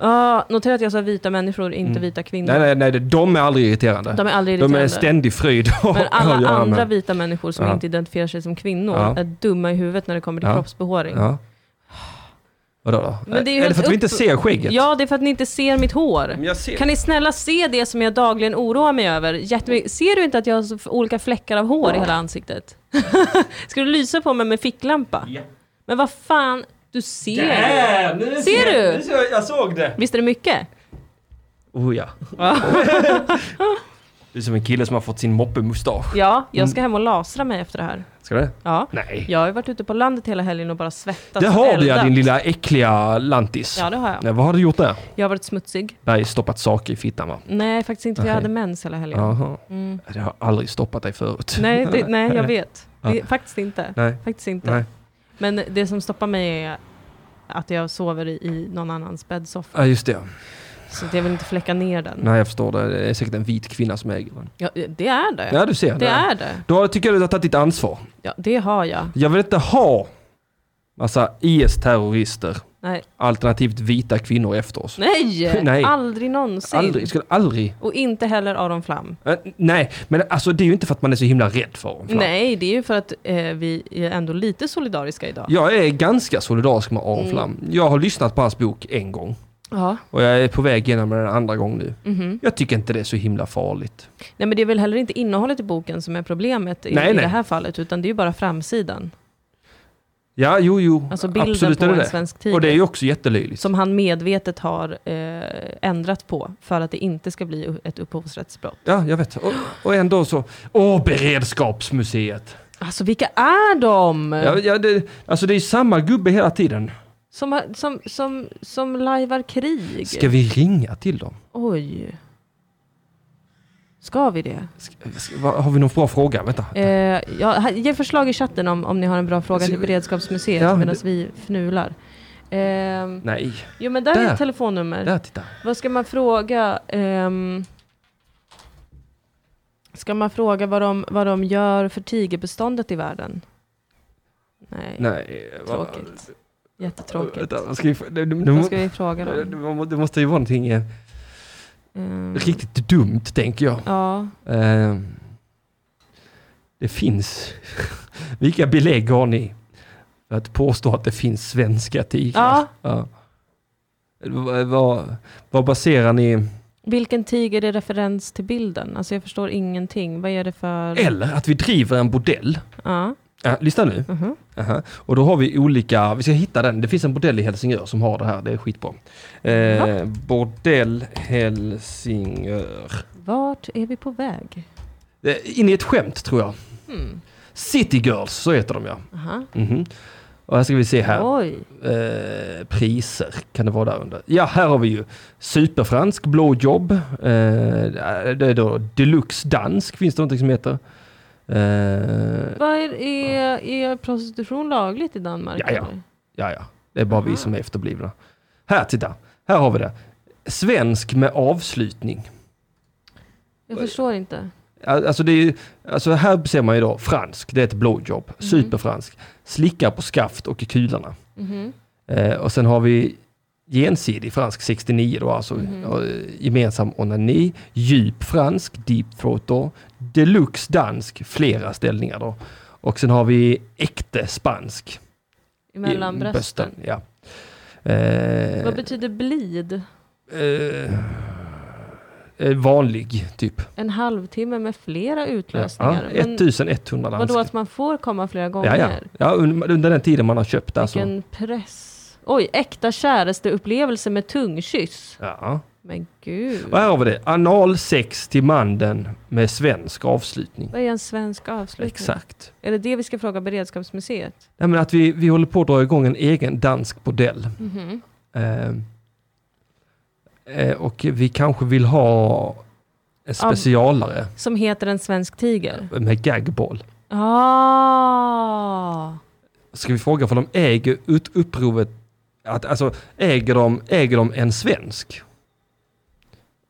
Ah, notera att jag sa vita människor, inte Mm. vita kvinnor. Nej, nej, nej, det- de är aldrig irriterande. De är aldrig De är irriterande. en ständig fröjd att Men att alla göra med. andra vita människor som Ja. inte identifierar sig som kvinnor Ja. är dumma i huvudet när det kommer till Ja. kroppsbehåring. Ja. Ja. Vadå då? Men det är ju är, det helt för att vi inte upp- ser skägget? det är för att ni inte ser mitt hår. Men jag ser. Kan ni snälla se det som jag dagligen oroar mig över? Jättemycket. Ser du inte att jag har så f- olika fläckar av hår i hela ansiktet? <laughs> Ska du lysa på mig med ficklampa? Men vad fan, du ser. Äh, nu Ser du? nu jag, såg det! Visst är det mycket? Oh ja. <laughs> du är som en kille som har fått sin moppemustasch. Ja, jag Mm. ska hem och lasra mig efter det här. Ska det? Ja. Nej. Jag har ju varit ute på landet hela helgen och bara svettats Det har och du ja, eldat. din lilla äckliga lantis. Ja, det har jag. Nej, vad har du gjort där? Jag har varit smutsig. Nej, stoppat saker i fittan va? Nej, faktiskt inte för jag Okej. hade mens hela helgen. Jaha. Jag har aldrig stoppat dig förut. Mm. Nej, det, nej, <laughs> jag vet. Det, faktiskt inte. Nej. Faktiskt inte. Nej. Men det som stoppar mig är att jag sover i, i någon annans bäddsoffa. Ja, just det. Så att jag vill inte fläcka ner den. Nej, jag förstår det. Det är säkert en vit kvinna som äger den. Ja, det är det. Ja, du ser. det Nej. är det. Då tycker jag du har tagit ditt ansvar. Ja, det har jag. Jag vill inte ha massa IS-terrorister, Nej. alternativt vita kvinnor efter oss. Nej! <laughs> Nej. Aldrig någonsin. Aldrig, skulle aldrig. Och inte heller Aron Flam. Äh, nej, men alltså det är ju inte för att man är så himla rädd för dem. Nej, det är ju för att eh, vi är ändå lite solidariska idag. Jag är ganska solidarisk Mm. med Aron Flam. Jag har lyssnat på hans bok en gång Ja. Mhm. och jag är på väg igenom den en andra gång nu. Jag tycker inte det är så himla farligt. Nej, men det är väl heller inte innehållet i boken som är problemet i, Nej, i nej. det här fallet, utan det är ju bara framsidan. Ja, jo, jo. Alltså bilden absolut på är det en det. svensk tiger. Och det är ju också jättelöjligt. som han medvetet har eh, ändrat på för att det inte ska bli ett upphovsrättsbrott. Ja, jag vet. Och, och ändå så... Åh, beredskapsmuseet! Alltså vilka är de? Ja, ja, det, alltså det är samma gubbe hela tiden. Som, har- som, som, som lajvar krig? Ska vi ringa till dem? Oj. Ska vi det? Ska, ska, vad- har vi någon bra fråga? Vänta. Eh, ja, här- ge förslag i chatten om, om ni har en bra fråga till Ska vi- Beredskapsmuseet Ja, medan det- vi fnular. Ehm, Nej, jo men där, är Där. ett telefonnummer. där titta. Vad ska man fråga? Um, ska man fråga vad de, vad de gör för tigerbeståndet i världen? Nej, Nej, vad- tråkigt. Jättetråkigt. Vänta, vad ska vi, det, det, Vad ska vi fråga det, dem? det, det måste ju vara någonting eh, Ehm, riktigt dumt, tänker jag. ja, Eh, det finns... <laughs> Vilka belägg har ni för att påstå att det finns svenska tigrar? Ja. Vad- Vad, vad baserar ni... vilken tiger är referens till bilden? Alltså jag förstår ingenting. Vad är det för... Eller att vi driver en bordell. Ja. Ja, lyssna nu. Mhm. Aha. Och då har vi olika, vi ska hitta den. Det finns en bordell i Helsingör som har det här, det är skitbra. Eh, bordell Helsingör. Vart är vi på väg? Eh, In i ett skämt tror jag. City Girls, så heter de ja. Aha. Mhm. Och här ska vi se här. Oj. Eh, priser, kan det vara där under? Ja, här har vi ju superfransk blowjob. Eh, det är då deluxe dansk, finns det någonting som heter. Eh, Vad är, är, är prostitution lagligt i Danmark? Ja, ja. eller? Ja, ja. Det är bara vi som är efterblivna. Här, titta. Här har vi det. Svensk med avslutning. Jag förstår inte. Al- Alltså, det är ju, alltså här ser man ju då fransk, det är ett blowjob. Superfransk. Slickar på skaft och i kulorna. Mhm. Eh, och sen har vi gensidig fransk 69 då, alltså Mhm. eh, gemensam onani, djup fransk, deep throat då, deluxe dansk, flera ställningar då. Och sen har vi äkte spansk. i Mellan brösten. Ja. Eh, Vad betyder blid? eh, eh, vanlig typ. En halvtimme med flera Ja, utlösningar? Men 1100 vadå danskar. att man får komma flera gånger? Ja, ja. ja, un- under den tiden man har köpt alltså. Vilken press. Oj, äkta käresteupplevelse med tungkyss. Ja. Men gud. Och här har vi det. Anal sex till mannen med svensk avslutning. Vad är en svensk avslutning? Exakt. Är det det vi ska fråga Beredskapsmuseet? Nej, men att vi, vi håller på att dra igång en egen dansk bordell. Eh, eh, och vi kanske vill ha en specialare Som heter En svensk tiger? med gagball. Ah. Ska vi fråga för de äger ut upproret, att, alltså äger de, äger de en svensk?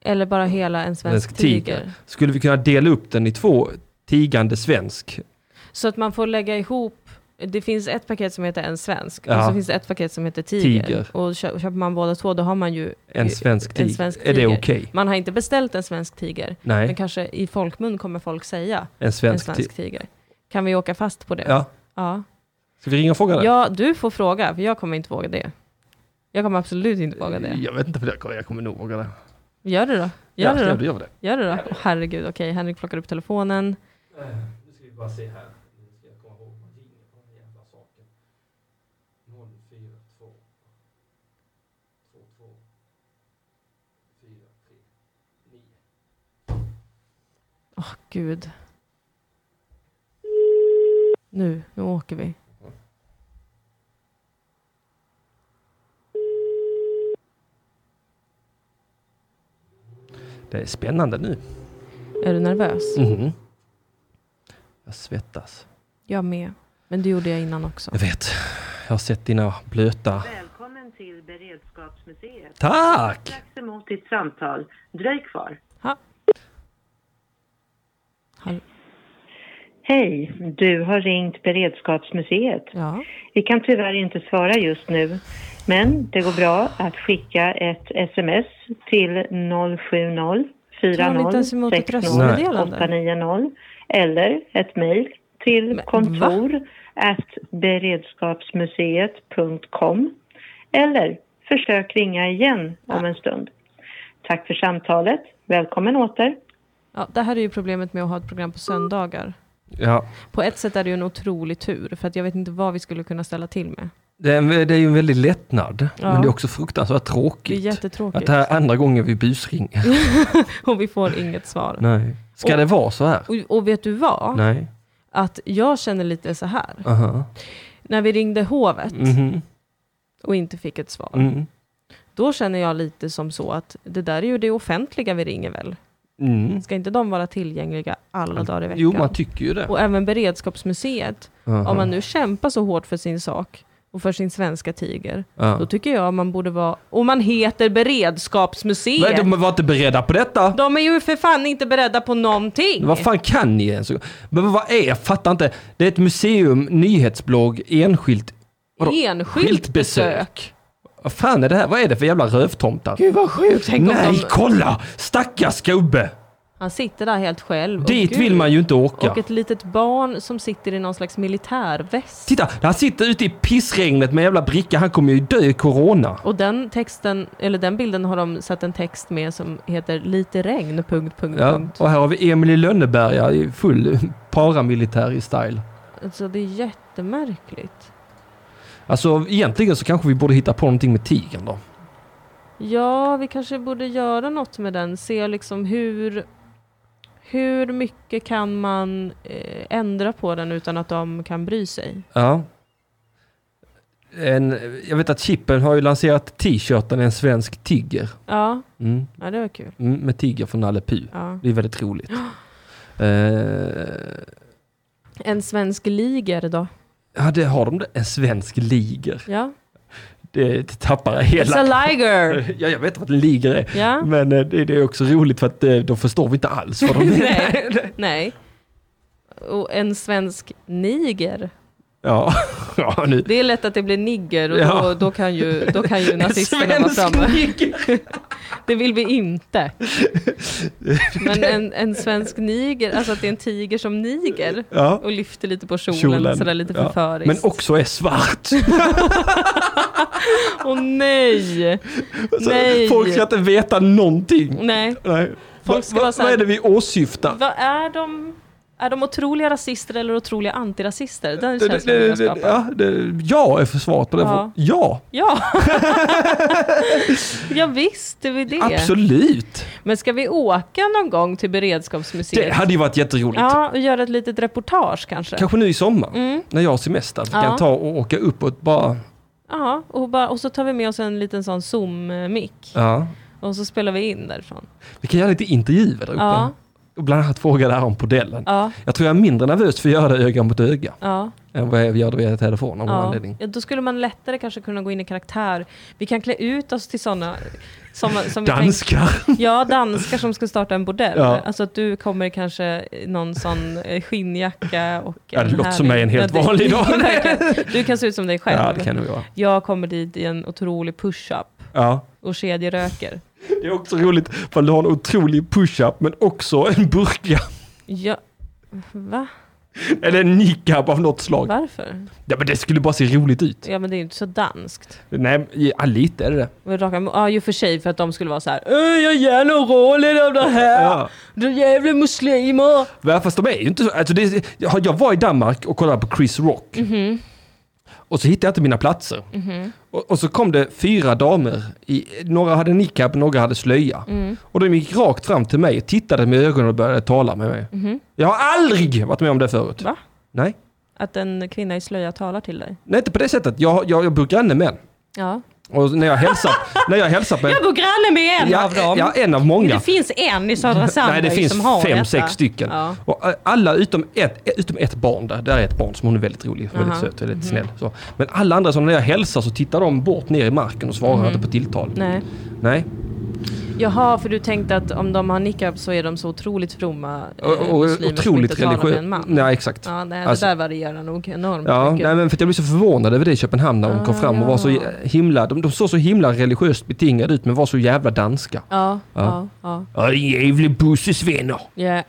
Eller bara hela En svensk, tiger. Skulle vi kunna dela upp den i två tigande svensk? Så att man får lägga ihop det finns ett paket som heter en svensk Ja. och så finns det ett paket som heter tiger. Tiger. Och kö- köper man båda två då har man ju... En svensk tiger. Eh, svensk Är det tiger. okej? Man har inte beställt en svensk tiger, men Nej, kanske i folkmun kommer folk säga en svensk, en svensk tiger. tiger. Kan vi åka fast på det? Ja. Ja. Ska vi ringa och fråga det? Ja, du får fråga, för jag kommer inte våga det. Jag kommer absolut inte våga det. Jag vet inte, för jag kommer- jag kommer nog våga det. Gör det då. Gör det ja, då. gör vi det. Gör det då. Åh, herregud, okej. Henrik plockar upp telefonen. Nu ska vi bara se här. Åh, gud. Nu, nu åker vi. Det är spännande nu. Är du nervös? Mhm. Jag svettas. Jag med. Men det gjorde jag innan också. Jag vet. Jag har sett dina blöta... Välkommen till Beredskapsmuseet. Tack! Strax emot ditt samtal. Dröj kvar. Ha. Hall- Hej, du har ringt Beredskapsmuseet. Ja. Vi kan tyvärr inte svara just nu, men det går bra att skicka ett sms till 070 Tar ni inte 40 ens emot ett 60 röstmeddelande? 890 eller ett mejl till Men, kontor at beredskapsmuseet.com eller försök ringa igen om en stund. Tack för samtalet. Välkommen åter. ja, det här är ju problemet med att ha ett program på söndagar. Ja. På ett sätt är det ju en otrolig tur, för att jag vet inte vad vi skulle kunna ställa till med. <laughs> Det är, en, det är ju en väldig lättnad, Ja. men det är också fruktansvärt Det är tråkigt. jättetråkigt. att det här är andra gången vi busringer. Och vi får inget svar. Nej. Ska Och- det vara så här? Och, och vet du vad? Nej. Att jag känner lite så här. Aha. När vi ringde hovet Mhm. och inte fick ett svar. Mm. Då känner jag lite som så att det där är ju det offentliga vi ringer väl? Mm. Ska inte de vara tillgängliga alla dagar i veckan? Jo, man tycker ju det. och även Beredskapsmuseet, Aha. om man nu kämpar så hårt för sin sak och för sin svenska tiger, Ja. då tycker jag man borde vara... Och man heter Nej, Beredskapsmuseet! de var inte beredda på detta. De är ju för fan inte beredda på någonting! Vad fan kan ni ens? Men vad är, jag fattar inte. Det är ett museum, nyhetsblogg, enskilt... vadå? Enskilt besök. Vad fan är det här? Vad är det för jävla rövtomtar? Gud vad sjukt! om Nej, de- kolla! Stackars gubbe! Han sitter där helt själv. och Dit gud. vill man ju inte åka. Och ett litet barn som sitter i någon slags militärväst. Titta, han sitter ute i pissregnet med en jävla bricka. Han kommer ju dö i corona. Och den texten, eller den bilden har de satt en text med som heter Lite regn... Punkt, punkt, Ja, punkt. och här har vi Emil i Lönneberga i full paramilitär i style. Alltså det är jättemärkligt. Alltså egentligen så kanske vi borde hitta på någonting med tigern då. Ja, vi kanske borde göra något med den. Se liksom hur, hur mycket kan man eh, ändra på den utan att de kan bry sig. Ja. En, jag vet att Chippen har ju lanserat t-shirten En svensk tiger. Ja, Mm, ja det var kul. mm, med tiger från Nalle Puh. Ja. Det är väldigt roligt. Eh, En svensk liger då? ja, det har de det. En svensk liger. Ja. Det, det tappar jag It's a hela... <laughs> liger! Ja, jag vet vad en liger är. Ja. Men eh, det, det är också roligt för att eh, då förstår vi inte alls vad de är. <laughs> Nej. Nej. Och en svensk niger. Ja, <laughs> ja nu. Det är lätt att det blir nigger och då, Ja. då kan ju, då kan <laughs> ju nazisterna vara Svensk framme. liger. <laughs> Det vill vi inte. <laughs> Men en, en svensk niger, alltså att det är en tiger som niger Ja. och lyfter lite på kjolen, Kjolen. sådär lite Ja. förföriskt. Men också är svart. <laughs> Åh <laughs> nej! Så Nej. Alltså, Folk ska inte veta någonting. Nej. Nej. Folk Va- ska va- vara så här- Vad är det vi åsyftar? Vad är de? Är de otroliga rasister eller otroliga antirasister? Den Det, känns som det, jag det, skapar. ja, det, ja är för svaret på den Ja. frågan. Ja, <laughs> Ja! <laughs> ja visst, det är väl det. absolut. Men ska vi åka någon gång till beredskapsmuseet? Det hade ju varit jätteroligt. Ja, och göra ett litet reportage kanske. Kanske nu i sommar, när jag har semester. att Vi Ja. kan ta och åka uppåt bara. Ja, och, bara, och så tar vi med oss en liten sån Zoom-mick Ja. och så spelar vi in därifrån. Vi kan göra lite intervjuer där uppe. Ja. Och bland annat fråga det här om bordellen. Ja, Jag tror jag är mindre nervös för att göra det öga mot öga ja, än vad jag gör det via telefon av någon ja. anledning. ja. Då skulle man lättare kanske kunna gå in i karaktär. Vi kan klä ut oss till sådana som, som vi tänker- Danskar! <laughs> Ja, danskar som ska starta en bordell. Ja. Alltså att du kommer i kanske i någon sån eh, skinnjacka och... Ja, det en låter som mig en <laughs> helt Ja, det- vanlig dag. verkligen. du kan se ut som dig själv. Ja, det kan du göra. Jag kommer dit i en otrolig push-up Ja. och kedjeröker. Det är också roligt för du har en otrolig push-up men också en burka Ja, va? eller en niqab av något slag. Varför? Ja, men det skulle bara se roligt ut. Ja, men det är ju inte så danskt. Nej, ja, lite är det det. Och raka- Ja, ju för sig för att de skulle vara så här. "Öh, Jag gör nog roller av det här. Ja. Du jävla muslimer. Ja, fast de är ju inte så. Alltså det, jag jag var i Danmark och kollade på Chris Rock. Mm-hmm. Och så hittade jag inte mina platser. Och, och så kom det fyra damer. I, några hade niqab, några hade slöja. Mm. Och de gick rakt fram till mig, tittade med ögonen och började tala med mig. Jag har aldrig varit med om det förut. Mm-hmm. Va? Nej. Att en kvinna i slöja talar till dig. Nej, inte på det sättet. Jag, jag, jag bor granne med en. Ja. Och när jag hälsar, <laughs> när jag hälsar på en... Jag bor granne med en av dem. Ja, en av många. Det finns en i Södra Sandberg Nej, det som finns har fem, detta. sex stycken. Ja. Och eh, alla utom ett, eh, utom ett barn, där, där är ett barn som hon är väldigt rolig, väldigt Aha. Mm-hmm. söt, väldigt snäll. Så. Men alla andra, som när jag hälsar så tittar de bort ner i marken och svarar inte på tilltal. Mm. Nej. Nej. Jaha, för du tänkte att om de har niqab så är de så otroligt fromma eh, Och, och, muslimer som inte otroligt talar med religiös. en man. Nej, exakt. Ja, nej, Alltså- det där varierar nog enormt Ja, mycket. nej, men för att jag blev så förvånad över det i Köpenhamn när hon kom Ah, fram och var så ja. himla, de, de såg så himla religiöst betingade ut men var så jävla danska. ja, ja, Ja. ja. Ja, jävla busses vänner. Yeah.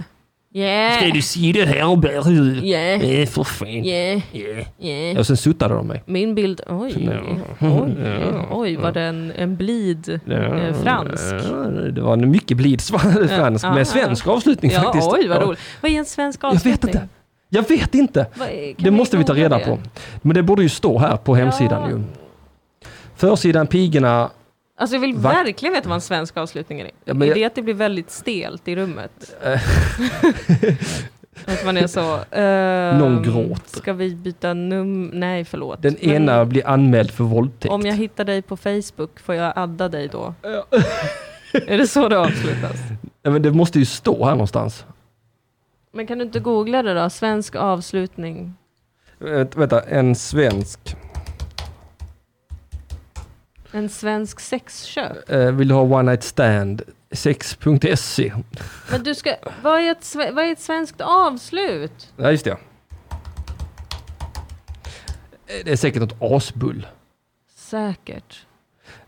Yeah. se det här och bära Eh. Yeah. Nej, för fan. Yeah. Yeah. Yeah. Ja, Och sen suttade de mig. Min bild, oj, Ja. oj, oj, var det en, en blid eh, fransk? Ja, det var en mycket blid sva- <laughs> fransk Ja. med svensk avslutning Ja, faktiskt. oj, vad Ja. roligt. Vad är en svensk Jag vet avslutning? inte. Jag vet inte. Vad är- kan Det måste vi ta googla reda det? på. Men det borde ju stå här på hemsidan ju. Försidan pigorna. Alltså jag vill Va? verkligen veta vad en svensk avslutning är. Ja, men Det är jag- att det blir väldigt stelt i <laughs> rummet. att man är så... ehm, Någon gråter. Ska vi byta num... Nej, förlåt. Den Men ena blir anmäld för våldtäkt. Om jag hittar dig på Facebook, får jag adda dig då? <laughs> är det så det avslutas? Ja, Men det måste ju stå här någonstans. Men kan du inte googla det då? Svensk avslutning. Vänta, vänta, en svensk. En svensk sexköp. Eh, Vill du ha one night stand? 6.se. Men du ska... Vad är ett, sve- vad är ett svenskt avslut? Ja, just det. Eh, Det är säkert något asbull. Säkert.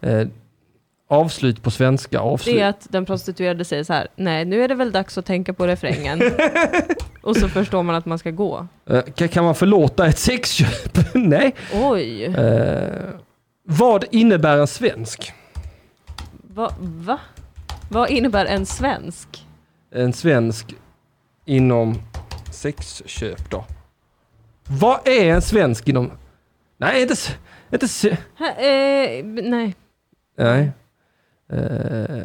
Eh, avslut på svenska, avslut. Det är att den prostituerade säger så här, nej nu är det väl dags att tänka på <laughs> refrängen. och så förstår man att man ska gå. Eh, kan, kan man förlåta ett sexköp? <laughs> Nej. Oj, Eh, vad innebär en svensk? va, va? Vad innebär en svensk? En svensk inom sexköp då? Vad är en svensk inom... Nej, inte... s- inte s- Hä, eh, b- nej, Nej. Eh,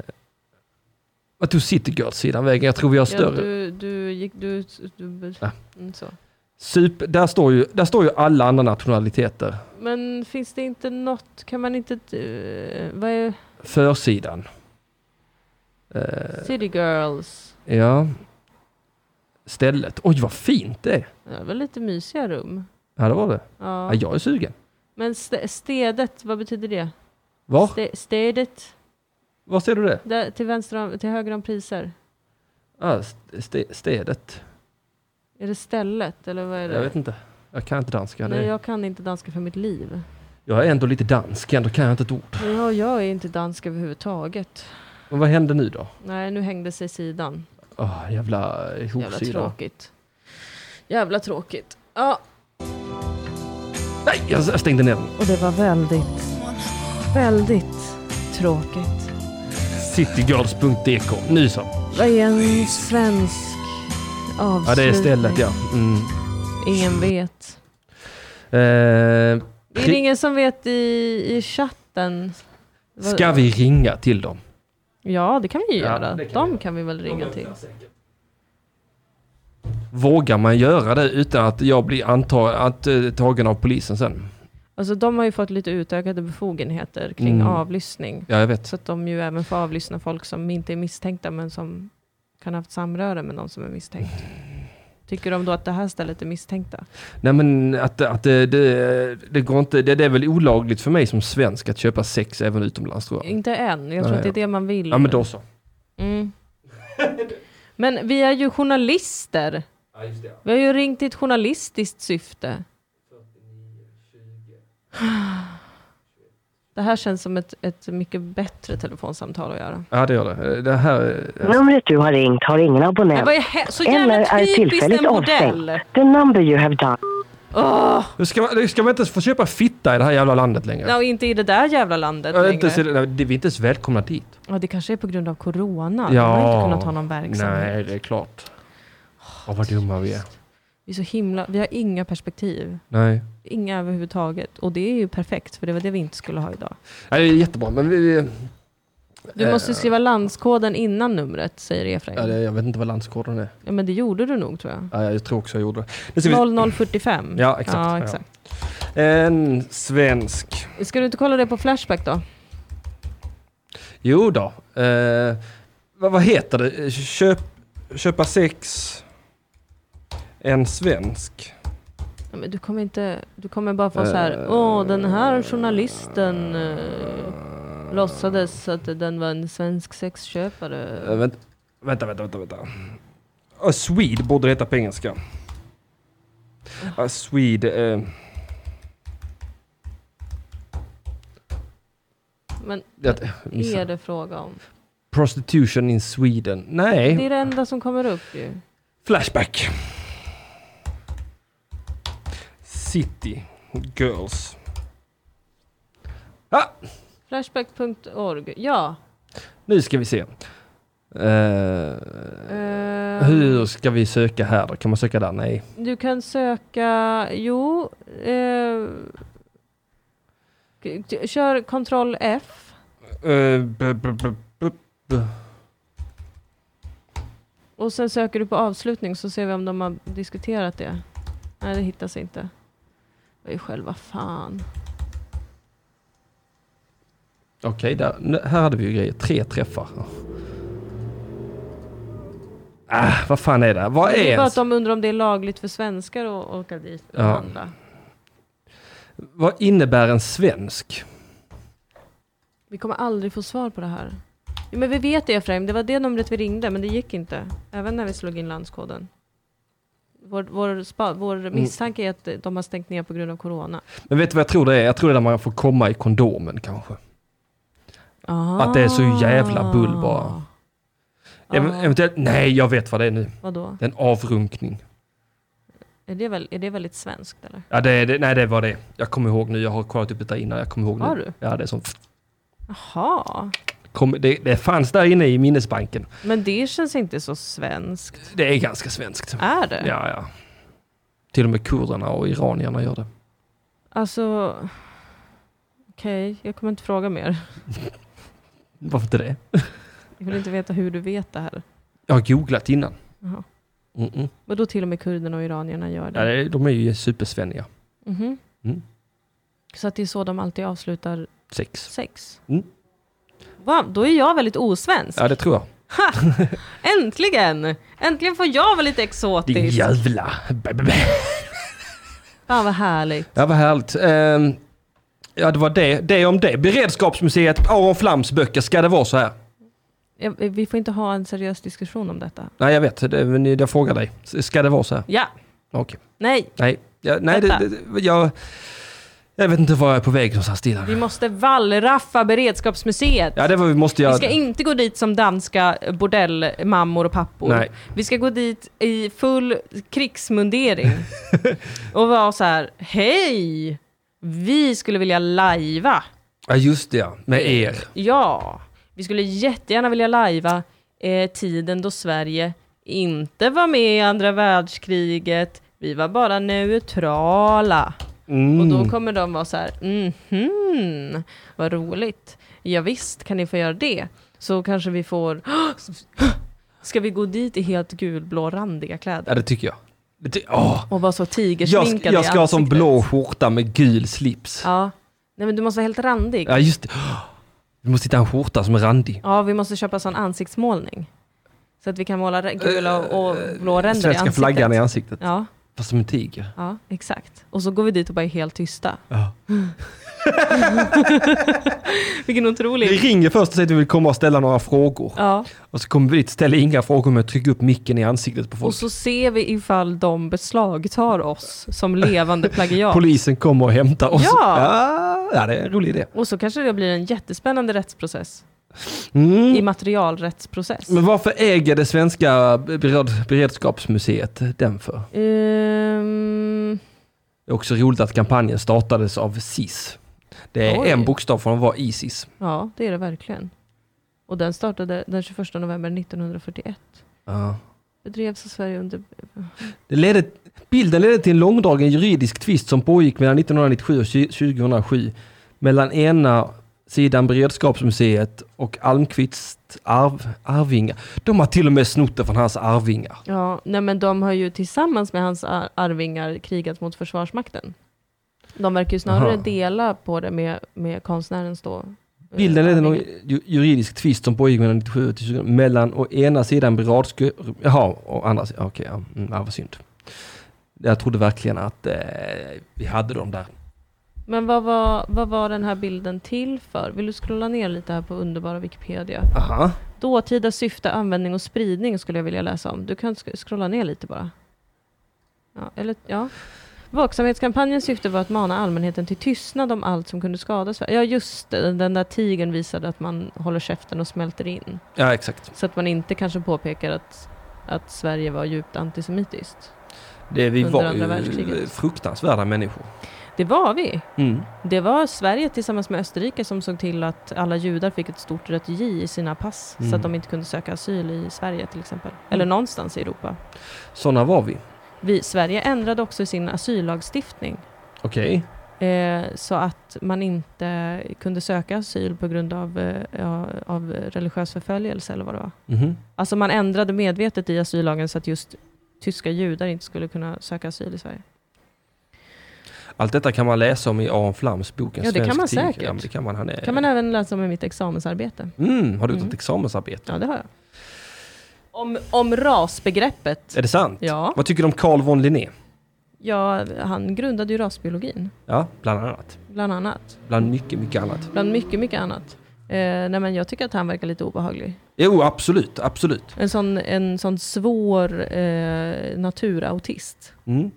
vad tog City Girls-sidan vägen? Jag tror vi har ja, större. du, du gick, du, du Ja. mm, så. Sup, där, står ju, där står ju alla andra nationaliteter. Men finns det inte något, kan man inte, eh, vad är Försidan. Eh, City Girls? ja. Stället. Oj, vad fint det är. Ja, Det var lite mysiga rum. Ja, det var det. Ja, Ja. jag är sugen. Men st- stedet, vad betyder det? Var? Ste- stedet, Var ser du det? där, till, vänster om, till höger om priser. Ah, ste, städet. Är det stället eller vad är det? Jag vet inte. Jag kan inte danska. Nej, Det. jag kan inte danska för mitt liv. Jag är ändå lite dansk, ändå kan jag inte ett ord. Ja, jag är inte dansk överhuvudtaget. Men vad händer nu då? Nej, nu hängde sig sidan. Oh, jävla eh, Jävla hopsida. tråkigt. Jävla tråkigt. Ja, Nej, jag jag stängde ner den. och det var väldigt, väldigt tråkigt. Citygirls.dk. Nu så. Vad är en svensk avslutning. Ja, det är stället ja. Mm. Ingen vet. Eh, Är det ingen som vet i, i chatten? Vad- ska vi ringa till dem? Ja, det kan vi ju Ja, göra. det kan De vi. kan vi väl ringa till. Vågar man göra det utan att jag blir antar- att, eh, tagen av polisen sen? Alltså de har ju fått lite utökade befogenheter kring Mm. avlyssning. Ja, jag vet. Så att de ju även får avlyssna folk som inte är misstänkta men som kan ha haft samröre med någon som är misstänkt. Tycker de då att det här stället är misstänkta? Nej men att, att det, det, det går inte, det, det är väl olagligt för mig som svensk att köpa sex även utomlands tror jag. Inte än, jag tror Nej. att det är det man vill. Ja men då så. Mm. Men vi är ju journalister. Vi har ju ringt i ett journalistiskt syfte. <sighs> Det här känns som ett, ett mycket bättre telefonsamtal att göra. Ja det gör det. Det här... Numret du har ringt har ingen Men abonnent vad är he- så eller jävla är typiskt tillfälligt en avstängd. bordell! The number you have done. Åh, Nu ska, man- nu ska man inte ens få köpa fitta i det här jävla landet längre. nej, inte i det där jävla landet Ja, det är inte, längre. så- nej, det- vi är inte ens välkomna dit. Ja, det kanske är på grund av corona. De har inte kunnat ha någon verksamhet. Nej, det är klart. Åh, vad dumma vi är. Vi, är så himla, vi har inga perspektiv. Nej. Inga överhuvudtaget. Och det är ju perfekt, för det var det vi inte skulle ha idag. Nej, det är jättebra, men vi... vi Du måste skriva landskoden innan numret, säger Efraim. Eh, ja, det, jag vet inte vad landskoden är. Ja, men det gjorde du nog, tror jag. Ja, jag tror också jag gjorde det. Nu ska vi- 0045. Ja, exakt. Ja, Ja. exakt. En svensk. Ska du inte kolla det på Flashback då? Jo då. Eh, vad, vad heter det? Köp, köpa sex. En svensk. Ja, men du kommer inte... Du kommer bara få så Eh, här... Åh, den här journalisten eh, låtsades att den var en svensk sexköpare. Eh, vänt, vänta, vänta, vänta, vänta. A Swede borde det heta på engelska. A Swede. eh, Men det, är missade. det fråga om? prostitution in Sweden. Nej. Det är det enda som kommer upp ju. Flashback. City Girls. Ah, Flashback.org. Ja. nu ska vi se. Eh, eh, hur ska vi söka här då? Kan man söka där? Nej. Du kan söka... Jo. Eh, k- k- kör kontroll F. Eh, b- b- b- b- b- Och sen söker du på avslutning så ser vi om de har diskuterat det. Nej, det hittas inte. Det är ju själva fan. Okej, där. Nu- här hade vi ju grejer. Tre träffar. Ah, vad fan är det? Vad är Det är bara att ens? de undrar om det är lagligt för svenskar att åka dit och Ja. handla. Vad innebär en svensk? Vi kommer aldrig få svar på det här. Jo, men vi vet det Efraim, det var det numret vi ringde men det gick inte. Även när vi slog in landskoden. Vår, vår, spa, Mm. vår misstanke är att de har stängt ner på grund av corona. Men vet du vad jag tror det är? Jag tror det är där man får komma i kondomen kanske. Att det är så jävla bull bara. Ev- Ah. eventuellt, nej jag vet vad det är nu. Vadå? Det är en avrunkning. Är det, väl, är det väldigt svenskt eller? Ja, det, är- det, nej det var det. Jag kommer ihåg nu, jag har kollat upp detta innan. Jag kommer ihåg nu. Har du? Ja, det är sånt. Jaha. Kom, det, det fanns där inne i minnesbanken. Men det känns inte så svenskt. Det är ganska svenskt. Är det? Ja, ja. Till och med kurderna och iranierna gör det. Alltså... Okej, jag kommer inte fråga mer. Varför inte det? Jag vill inte veta hur du vet det här. Jag har googlat innan. Jaha. Mm-mm. Vadå till och med kurderna och iranierna gör Ja, det? det- de är ju supersvenniga. Mhm. Mm. Så att det är så de alltid avslutar Sex. sex? Mm. Va? Då är jag väldigt osvensk. Ja, det tror jag. Äntligen! Äntligen får jag vara lite Din exotisk. jävla... Fan vad härligt. Ja, vad härligt. Ehm, ja, det var det. Det om det. Beredskapsmuseet, Aron Flams böcker. Ska det vara så här? Ja, eh, Vi får inte ha en seriös diskussion om detta. Nej, jag vet. Det, men jag frågar dig. S- Ska det vara så här? Ja, Okej. nej. Nej, ja, nej det, Vänta. det, jag... Jag vet inte var jag är på väg någonstans Stina. Vi måste vallraffa beredskapsmuseet. Ja, det var vi måste Vi göra. ska inte gå dit som danska bordellmammor och pappor. Nej. Vi ska gå dit i full <laughs> krigsmundering och vara så här, hej! Vi skulle vilja lajva. Ja, just det ja. Med er. Ja, vi skulle jättegärna vilja lajva eh, tiden då Sverige inte var med i andra världskriget, vi var bara neutrala. Mm. Och då kommer de vara så här, mhm, vad roligt. Ja, visst kan ni få göra det. Så kanske vi får, <gasps> ska vi gå dit i helt gulblårandiga kläder? Ja, det tycker jag. Det ty- åh. Och vara så Jag, ska- tigersminkad jag ska i ha som ansiktet. blå skjorta med gul slips. Ja. Nej men du måste vara helt randig. Ja, just det. Vi måste hitta en skjorta som är randig. Ja, vi måste köpa sån ansiktsmålning. Så att vi kan måla re- gula och, och blå ränder i Svenska ansiktet. flaggan i ansiktet. Ja, Fast som en tiger. ja, exakt. Och så går vi dit och bara är helt tysta. Ja. <laughs> Vilken otrolig... Vi ringer först och säger att vi vill komma och ställa några frågor. Ja, Och så kommer vi dit, ställer inga frågor men trycker upp micken i ansiktet på folk. och så ser vi ifall de beslagtar oss som levande plagiat. Polisen kommer och hämtar oss. Ja. Ah, ja, det är en rolig idé. Och så kanske det blir en jättespännande rättsprocess. Mm. I materialrättsprocess. Men varför äger det svenska bered- beredskapsmuseet den för? Ehm, Det är också roligt att kampanjen startades av SIS. Det är Oj. en bokstav från att vara ISIS. ja, det är det verkligen. Och den startade den 21 november 1941. Ja. Bedrevs av Sverige under... Det ledde, bilden ledde till en långdragen juridisk tvist som pågick mellan 1997 och 20- 2007 mellan ena sidan Beredskapsmuseet och Almqvists arv, arvingar. De har till och med snott det från hans arvingar. Ja, nej men de har ju tillsammans med hans ar- arvingar krigat mot Försvarsmakten. De verkar ju snarare Aha. dela på det med, med konstnärens då. eh, Bilden ledde till en arvingar. ju- juridisk tvist som pågick mellan 1997 och 2007 mellan å ena sidan beredskap... Jaha, och andra sidan... Okej, ja, mm, ja, vad synd. Jag trodde verkligen att eh, vi hade dem där. Men vad var, vad var den här bilden till för? Vill du scrolla ner lite här på underbara Wikipedia? Aha. Dåtida syfte, användning och spridning skulle jag vilja läsa om. Du kan sk- scrolla ner lite bara. Ja, eller, ja. Vaksamhetskampanjens syfte var att mana allmänheten till tystnad om allt som kunde skada Sverige. Ja, just det. Den där tigern visade att man håller käften och smälter in. Ja, exakt. Så att man inte kanske påpekar att, att Sverige var djupt antisemitiskt. Det, vi Under var andra ju världskriget. fruktansvärda människor. Det var vi. Mm. Det var Sverige tillsammans med Österrike som såg till att alla judar fick ett stort rött J i sina pass så Mm. att de inte kunde söka asyl i Sverige till exempel. Eller någonstans i Europa. Sådana var vi. Vi, Sverige ändrade också sin asyllagstiftning Okej. eh, så att man inte kunde söka asyl på grund av, eh, ja, av religiös förföljelse eller vad det var. Mhm. Alltså man ändrade medvetet i asyllagen så att just tyska judar inte skulle kunna söka asyl i Sverige. Allt detta kan man läsa om i Aron Flams bok. En Ja, det svensk kan man tiger. säkert. Ja, men det kan man. Han är... kan man även läsa om i mitt examensarbete. mm, har du gjort Mm. ett examensarbete? Ja, det har jag. Eh. Om, om rasbegreppet. Är det sant? Ja. Vad tycker du om Carl von Linné? ja, han grundade ju rasbiologin, Ja, bland annat. bland annat. Bland mycket, mycket annat. Bland mycket, mycket annat. Eh, nej, men jag tycker att han verkar lite obehaglig. Jo, absolut, absolut. En sån, en sån svår eh, naturautist. Mm.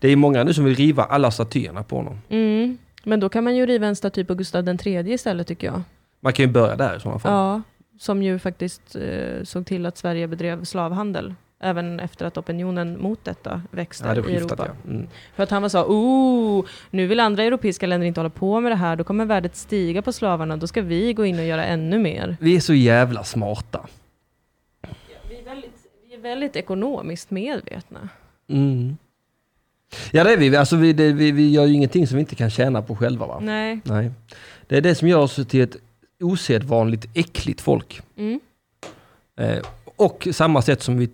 Det är många nu som vill riva alla statyerna på honom. Mm. Men då kan man ju riva en staty på Gustav III istället tycker jag. Man kan ju börja där i sådana fall. Ja, som ju faktiskt eh, såg till att Sverige bedrev slavhandel. Även efter att opinionen mot detta växte Ja, det i skiftat Europa. ja. Mm. För att han var så, oh, nu vill andra europeiska länder inte hålla på med det här, då kommer värdet stiga på slavarna, då ska vi gå in och göra ännu mer. Vi är så jävla smarta. Vi är väldigt, vi är väldigt ekonomiskt medvetna. Mm. Ja, det är vi. Alltså, vi, det, vi. Vi gör ju ingenting som vi inte kan tjäna på själva. Va? Nej. Nej. Det är det som gör oss till ett osedvanligt äckligt folk. Mm. Eh, och samma sätt som vi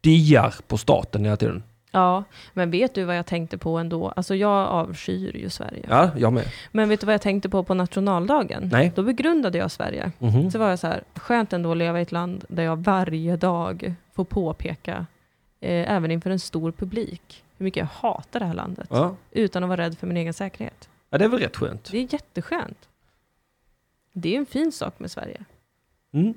diar på staten hela tiden. Ja, men vet du vad jag tänkte på ändå? Alltså jag avskyr ju Sverige. Ja, jag med. Men vet du vad jag tänkte på på nationaldagen? Nej. Då begrundade jag Sverige. Mhm. Så var jag så här, skönt ändå att leva i ett land där jag varje dag får påpeka, eh, även inför en stor publik, hur mycket jag hatar det här landet. Ja. Utan att vara rädd för min egen säkerhet. ja, det är väl rätt skönt. Det är jätteskönt. Det är en fin sak med Sverige. Mm.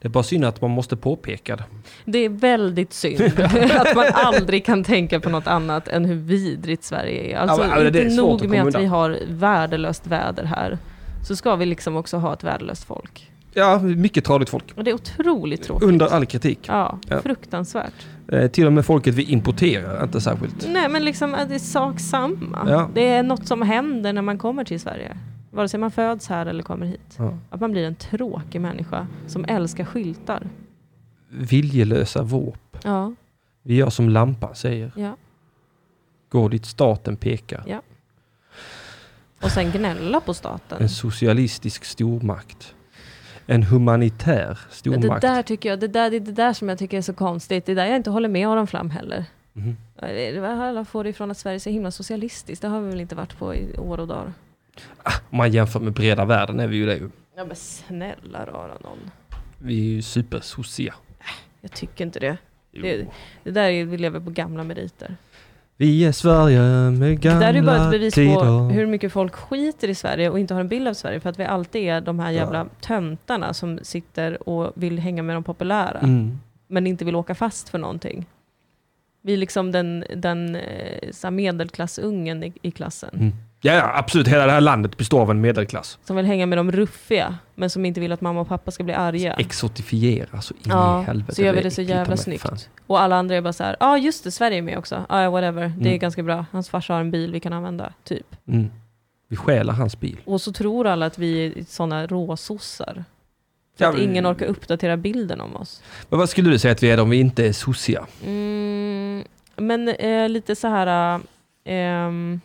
Det är bara synd att man måste påpeka det. Det är väldigt synd <laughs> att man aldrig kan tänka på något annat än hur vidrigt Sverige är. Alltså Ja, men, ja, det är inte svårt att nog komma med att undan. vi har värdelöst väder här, så ska vi liksom också ha ett värdelöst folk. Ja, mycket tradigt folk. Och det är otroligt tråkigt. Under all kritik. Ja, Ja. fruktansvärt. Eh, till och med folket vi importerar är inte särskilt. Nej men liksom, det är sak samma. Ja. Det är något som händer när man kommer till Sverige. Vare sig man föds här eller kommer hit. Ja. Att man blir en tråkig människa som älskar skyltar. viljelösa våp. Ja. Vi gör som lampan säger. Ja. Gå dit staten pekar. Ja. Och sen gnälla på staten. En socialistisk stormakt. En humanitär Men Det stormakt. där tycker jag, det där, det är det där som jag tycker är så konstigt. Det är där jag inte håller med Aron Flam heller. Mhm. Ja, det- det- Vad alla får det ifrån att Sverige är så himla socialistiskt? Det har vi väl inte varit på i år och dagar? Om man jämför med breda världen är vi ju det. ju. Ja men snälla rara någon. Vi är ju supersossiga. Jag tycker inte det. Det, det där är, vi lever på gamla meriter. Vi är Sverige med Det gamla där är ju bara ett bevis tider. på hur mycket folk skiter i Sverige och inte har en bild av Sverige för att vi alltid är de här jävla töntarna som sitter och vill hänga med de populära Mm. men inte vill åka fast för någonting. Vi är liksom den, den eh, så här medelklassungen i, i klassen Mm. Ja, ja, absolut. Hela det här landet består av en medelklass. som vill hänga med de ruffiga men som inte vill att mamma och pappa ska bli arga. Alltså, Exotifiera så in i helvete. så gör vi är det så äckligt, jävla men snyggt. fan. Och alla andra är bara så här, ja ah, just det, Sverige är med också. Ah, ja, whatever, det är Mm. ganska bra. Hans farsa har en bil vi kan använda, typ. Mm. Vi stjälar hans bil. Och så tror alla att vi är sådana råsossar. För Ja, att men- ingen orkar uppdatera bilden om oss. Men vad skulle du säga att vi är om vi inte är sossiga? Mm, men eh, lite så här... eh, ehm,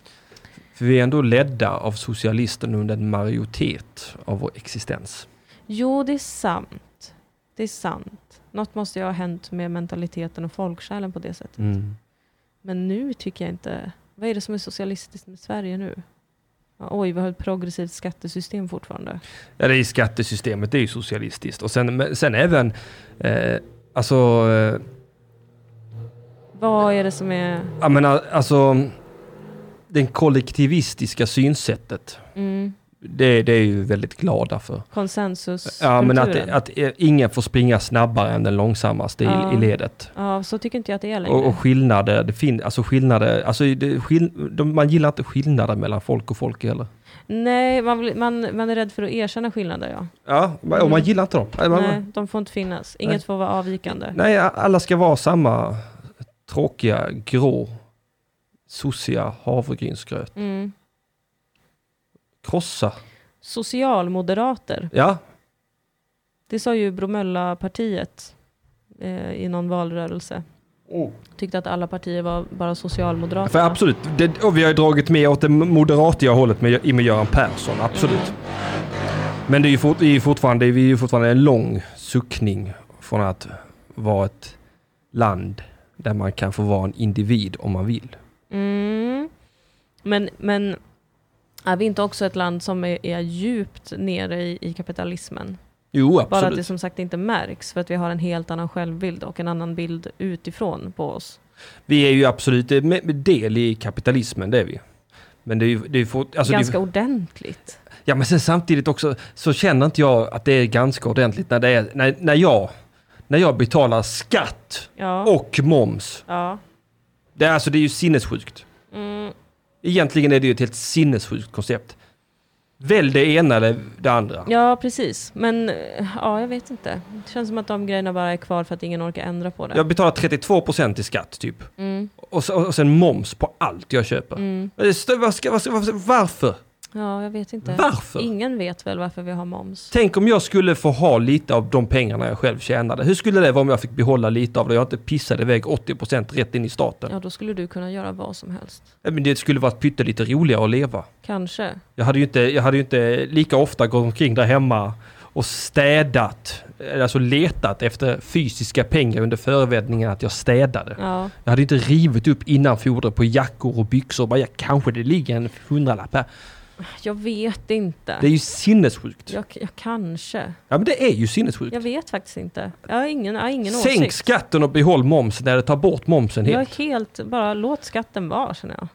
För vi är ändå ledda av socialisten under en majoritet av vår existens. jo, det är sant. Det är sant. Något måste ju ha hänt med mentaliteten och folksjälen på det sättet. Mm. Men nu tycker jag inte... Vad är det som är socialistiskt med Sverige nu? Ja, oj, vi har ett progressivt skattesystem fortfarande. Ja, det är skattesystemet, det är ju socialistiskt. Och sen, men sen även, eh, alltså, eh, Vad är det som är... jag menar, alltså, den kollektivistiska synsättet. Mm, Det, det är ju väldigt glada för. konsensus Ja, men att, att eh, ingen får springa snabbare än den långsammaste i, Ja. i ledet. Ja, så tycker inte jag att det är längre. Och, och skillnader, det fin, alltså skillnader, alltså det, skill, de, man gillar inte skillnader mellan folk och folk heller. Nej, man, vill, man, man är rädd för att erkänna skillnader ja. Ja, man- och man gillar inte dem. Nej, man- Nej, de får inte finnas. Inget Nej. får vara avvikande. Nej, alla ska vara samma tråkiga, grå, sossiga havregrynsgröt. Mm. Krossa. Socialmoderater, Ja, det sa ju Bromölla-partiet eh, i någon valrörelse. Tyckte att alla partier var bara socialmoderater. Oh. för absolut. Det, och vi har ju dragit med åt det moderatiga hållet med, i med Göran Persson, absolut. Men det är ju fort, vi är ju fortfarande, vi är ju fortfarande en lång suckning från att vara ett land där man kan få vara en individ om man vill. Mm. Men, men är vi inte också ett land som är, är djupt nere i, i kapitalismen? Jo, Bara att det absolut. som sagt inte märks för att vi har en helt annan självbild och en annan bild utifrån på oss. Vi är ju absolut eh, med- med del i kapitalismen, det är vi. Men det är ju... Det är ju fort, alltså det är- Ganska ordentligt. Ja men sen samtidigt också så känner inte jag att det är ganska ordentligt när det är, när, när jag, när jag betalar skatt Ja. och moms. Ja. Det är, alltså, det är ju sinnessjukt. Mm. Egentligen är det ju ett helt sinnessjukt koncept. Välj det ena eller det andra. Ja, precis. Men eh, ja, jag vet inte. Det känns som att de grejerna bara är kvar för att ingen orkar ändra på det. Jag betalar 32% i skatt typ. Mm. Och, så, och sen moms på allt jag köper. Mm. Det är stö- vad ska- vad ska- vad ska- Varför? Ja, jag vet inte. Varför? Ingen vet väl varför vi har moms. Tänk om jag skulle få ha lite av de pengarna jag själv tjänade. Hur skulle det vara om jag fick behålla lite av det och jag inte pissade iväg 80% rätt in i staten? Ja, då skulle du kunna göra vad som helst. Nej, Men det skulle varit pyttelite roligare att leva. Kanske. Jag hade ju inte, jag hade ju inte lika ofta gått omkring där hemma och städat, eh, alltså letat efter fysiska pengar under förevändningen att jag städade. Ja. Jag hade ju inte rivit upp innanfodret på jackor och byxor och bara, ja, kanske det ligger en hundralapp här. Jag vet inte. Det är ju sinnessjukt. Jag, jag kanske. Ja men det är ju sinnessjukt. Jag vet faktiskt inte. Jag har ingen, jag har ingen Sänk åsikt. skatten och behåll momsen eller ta bort momsen Jag helt. är helt, bara låt skatten vara känner jag.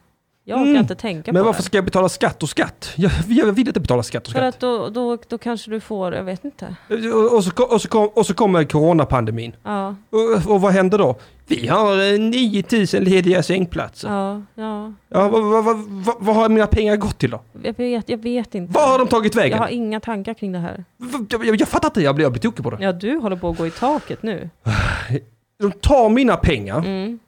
Jag orkar Mm. inte tänka Men på varför det. ska jag betala skatt och skatt? Jag, jag vill inte betala skatt och För skatt. att då, då, då kanske du får, jag vet inte. Och, och, så, ko- och, så, kom- och så kommer coronapandemin. Ja, Och, och vad händer då? Vi har eh, 9000 lediga sängplatser. Ja. ja, ja. vad, vad, vad, vad, vad har mina pengar gått till då? Jag vet, jag vet inte. Vad har de tagit Jag vägen? har inga tankar kring det här. V- Jag, jag, jag fattar inte, jag blir, jag blir tokig på det. Ja, du håller på att gå i taket nu. De tar mina pengar. Mm,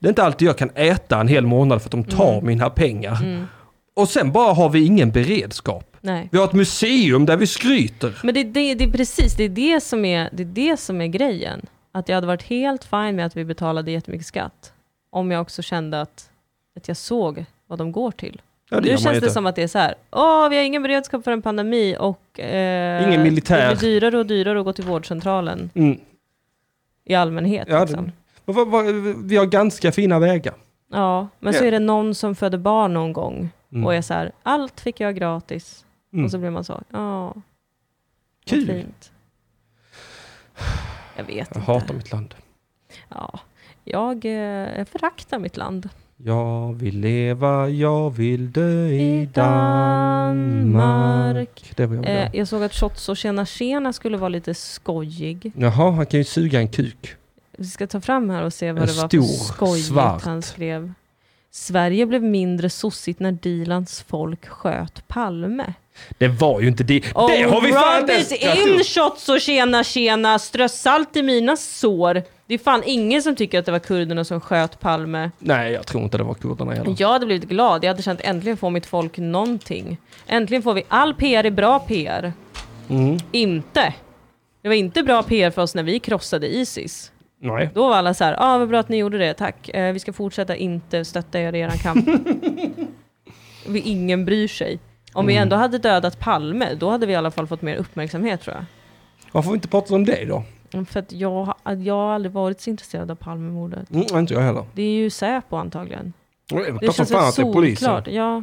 Det är inte alltid jag kan äta en hel månad för att de tar mina pengar. mm. Och sen bara har vi ingen beredskap. Nej. Vi har ett museum där vi skryter. Men det, det, det är precis, det är det som är, det är, det som är grejen. att jag hade varit helt fin med att vi betalade jättemycket skatt, om jag också kände att, att jag såg vad de går till. Ja, det gör nu man känns ju det inte. som att det är så här, åh, vi har ingen beredskap för en pandemi och eh, Ingen militär." det blir dyrare och dyrare att gå till vårdcentralen Mm. i allmänhet. Ja, liksom. det, men vad- vad- vi har ganska fina vägar. Ja, men så Ja. är det någon som föder barn någon gång Mm. och är så här, allt fick jag gratis. Mm. Och så blir man så, ja. vad Kul. Fint. Jag vet Jag inte. hatar mitt land. Ja. Jag eh, föraktar mitt land. Jag vill leva, jag vill dö i Danmark. Det var jag ville ha. Eh, jag såg att Shots och Tjena Tjena skulle vara lite skojig. Jaha, han kan ju suga en kuk. Vi ska ta fram här och se vad En det var stor, för skojigt svart. han skrev. Sverige blev mindre sossigt när Dilans folk sköt Palme. Det var ju inte det. Oh, det har vi fan inte ens Robert, dragit in upp. shots och tjena tjena, strö salt i mina sår. Det är fan ingen som tycker att det var kurderna som sköt Palme. Nej, jag tror inte det var kurderna heller. Jag hade blivit glad, jag hade känt äntligen får mitt folk någonting. Äntligen får vi, all PR är bra PR. Mm. Inte. Det var inte bra PR för oss när vi krossade Isis. Nej. Då var alla så här, ah, vad bra att ni gjorde det, tack. Eh, vi ska fortsätta inte stötta er i er <laughs> kamp. vi, ingen bryr sig. Om vi Mm. ändå hade dödat Palme, då hade vi i alla fall fått mer uppmärksamhet tror jag. Varför har vi inte pratat om det då? Mm, För att jag, har- att jag har aldrig varit så intresserad av Palmemordet. Mm, inte jag heller. Det är ju Säpo antagligen. Det är klart som fan att det är polisen. Ja.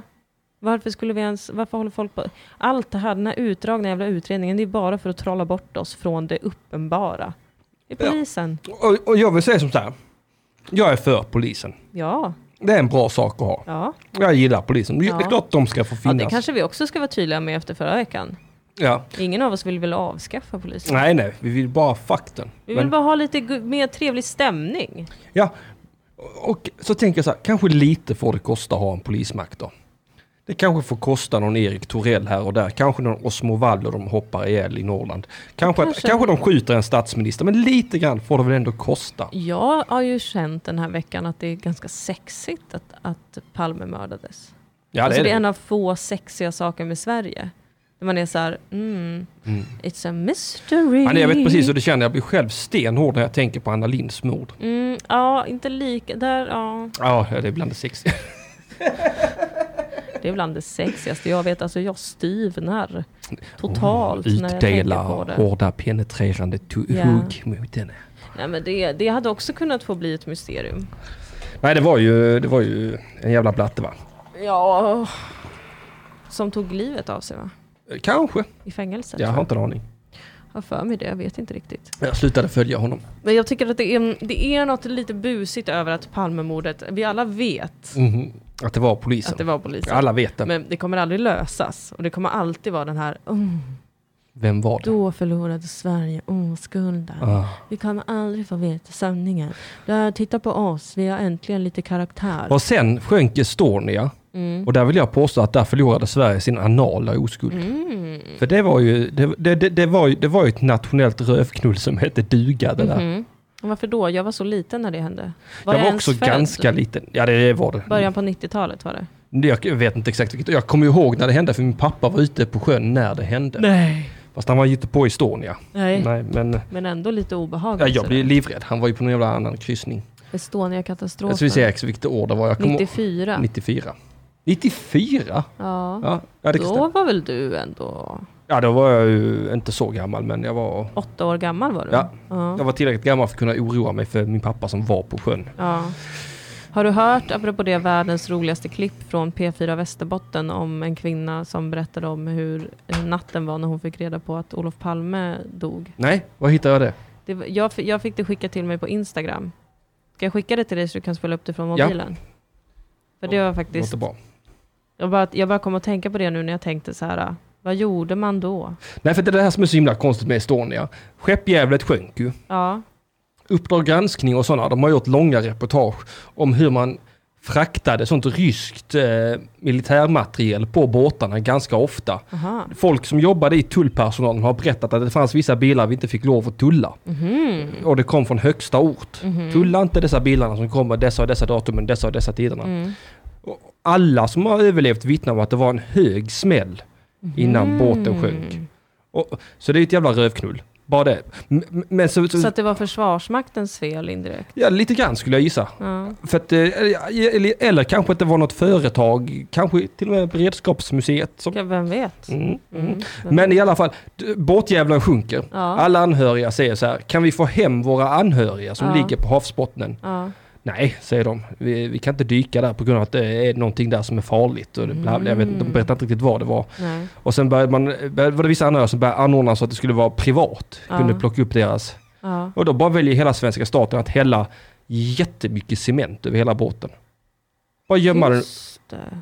Varför skulle vi ens, varför håller folk på? Allt det här, den här utdragna jävla utredningen, det är bara för att trolla bort oss från det uppenbara. Det är Ja. polisen. Ja. Och, och jag vill säga som så här. Jag är för polisen. Ja. Det är en bra sak att ha. Ja. Jag gillar polisen. Det är Ja. klart de ska få finnas. det kanske vi också ska vara tydliga med efter förra veckan. ja. Ingen av oss vill väl avskaffa polisen? Nej, nej. Vi vill bara ha fakten. Vi vill Men- bara ha lite gu- mer trevlig stämning. Ja, och så tänker jag så här, kanske lite får det kosta att ha en polismakt då. Det kanske får kosta någon Erik Torell här och där, kanske någon Osmo Wall och de hoppar ihjäl i Norrland. Kanske, kanske. Kanske. kanske de skjuter en statsminister, men lite grann får det väl ändå kosta. Jag har ju känt den här veckan att det är ganska sexigt att, att Palme mördades. Ja, det alltså är det är det. en av få sexiga saker med Sverige. När man är så här, mm, it's a mystery. Men jag vet precis hur det känner, jag blir själv stenhård när jag tänker på Anna Linds mord. Mm, ja, inte lika. Där, ja. Ja, det är bland det sexiga. Det är bland det sexigaste jag vet. Alltså jag styvnar totalt Mm, när jag tänker på Utdela det. hårda penetrerande tu- Ja. hugg mot henne. Nej, men det, det hade också kunnat få bli ett mysterium. Nej, det var ju, det var ju en jävla blatte va? Ja, som tog livet av sig va? Kanske. I fängelset? Jag tror har inte en aning. Jag har för mig det, jag vet inte riktigt. Jag slutade följa honom. Men jag tycker att det är, det är något lite busigt över att Palmemordet, vi alla vet Mhm. Att det var polisen. att det var polisen. Alla vet det. Men det kommer aldrig lösas. Och det kommer alltid vara den här, "Mm, Vem var det? då förlorade Sverige oskulden. Ah. Vi kommer aldrig få veta sanningen. Där, titta på oss, vi har äntligen lite karaktär. Och sen sjönk Estonia. Mm. Och där vill jag påstå att där förlorade Sverige sin anala oskuld. Mm. För det var ju, det, det, det, det var ju, det var ju ett nationellt rövknull som hette duga det där. Mhm. Och Varför då? Jag var så liten när det hände. jag var ens också född? ganska liten. Ja det var det. Början på 90-talet var det. Jag vet inte exakt vilket. Jag kommer ihåg när det hände för min pappa var ute på sjön när det hände. Nej. Fast han var ju inte på Estonia. Nej. Nej men Men ändå lite ja, obehagligt. jag blev livrädd. Han var ju på någon jävla annan kryssning. Jag ska vi se Estonia-katastrofen. exakt vilket år det var. Jag kommer- 94. 94. 94? Ja. Ja, ja, det Då var väl du ändå Ja, då var jag ju inte så gammal, men jag var, åtta år gammal var du? Ja. jag ja. var tillräckligt gammal för att kunna oroa mig för min pappa som var på sjön. Ja. Har du hört, apropå det, världens roligaste klipp från P4 Västerbotten om en kvinna som berättade om hur natten var när hon fick reda på att Olof Palme dog? Nej, var hittade jag det? Det, var- jag, fi- jag fick det skickat till mig på Instagram. Ska jag skicka det till dig så du kan spela upp det från Ja. mobilen? För det var Det faktiskt... låter bra. Jag bara, jag bara kom att tänka på det nu när jag tänkte så här, vad gjorde man då? Nej, för det är det här som är så himla konstigt med Estonia. Skeppjävlet sjönk ju. Ja, Uppdrag granskning och sådana, de har gjort långa reportage om hur man fraktade sånt ryskt eh, militärmateriel på båtarna ganska ofta. aha. Folk som jobbade i tullpersonalen har berättat att det fanns vissa bilar vi inte fick lov att tulla. Mhm. Och det kom från högsta ort. Mhm. Tulla inte dessa bilarna som kommer dessa och dessa datumen, dessa och dessa tiderna. Mm. Alla som har överlevt vittnar om att det Mm. var en hög smäll innan båten sjönk. Och, så det är ett jävla rövknull. Bara det. M- m- Men så, så, Så att det var Försvarsmaktens fel indirekt. ja, lite grann skulle jag gissa. Ja. För att, eh, eller, eller kanske att det var något företag, kanske till och med Beredskapsmuseet. Som, Ja, vem vet? Mm, mm. vem Men vet? i alla fall, d- båtjävlar sjunker. Ja. Alla anhöriga säger så här, kan vi få hem våra anhöriga som Ja. ligger på havsbottnen? Ja. Nej, säger de. Vi, vi kan inte dyka där på grund av att det är någonting där som är farligt. Och det, bla, bla, jag vet, inte, de berättar inte riktigt vad det var. Nej. Och sen började man, eh, började, var det vissa anhöriga som började anordna så att det skulle vara privat. Ja. Kunde plocka upp deras. Ja. Och då bara väljer hela svenska staten att hälla jättemycket cement över hela båten. Bara gömma den. Just det.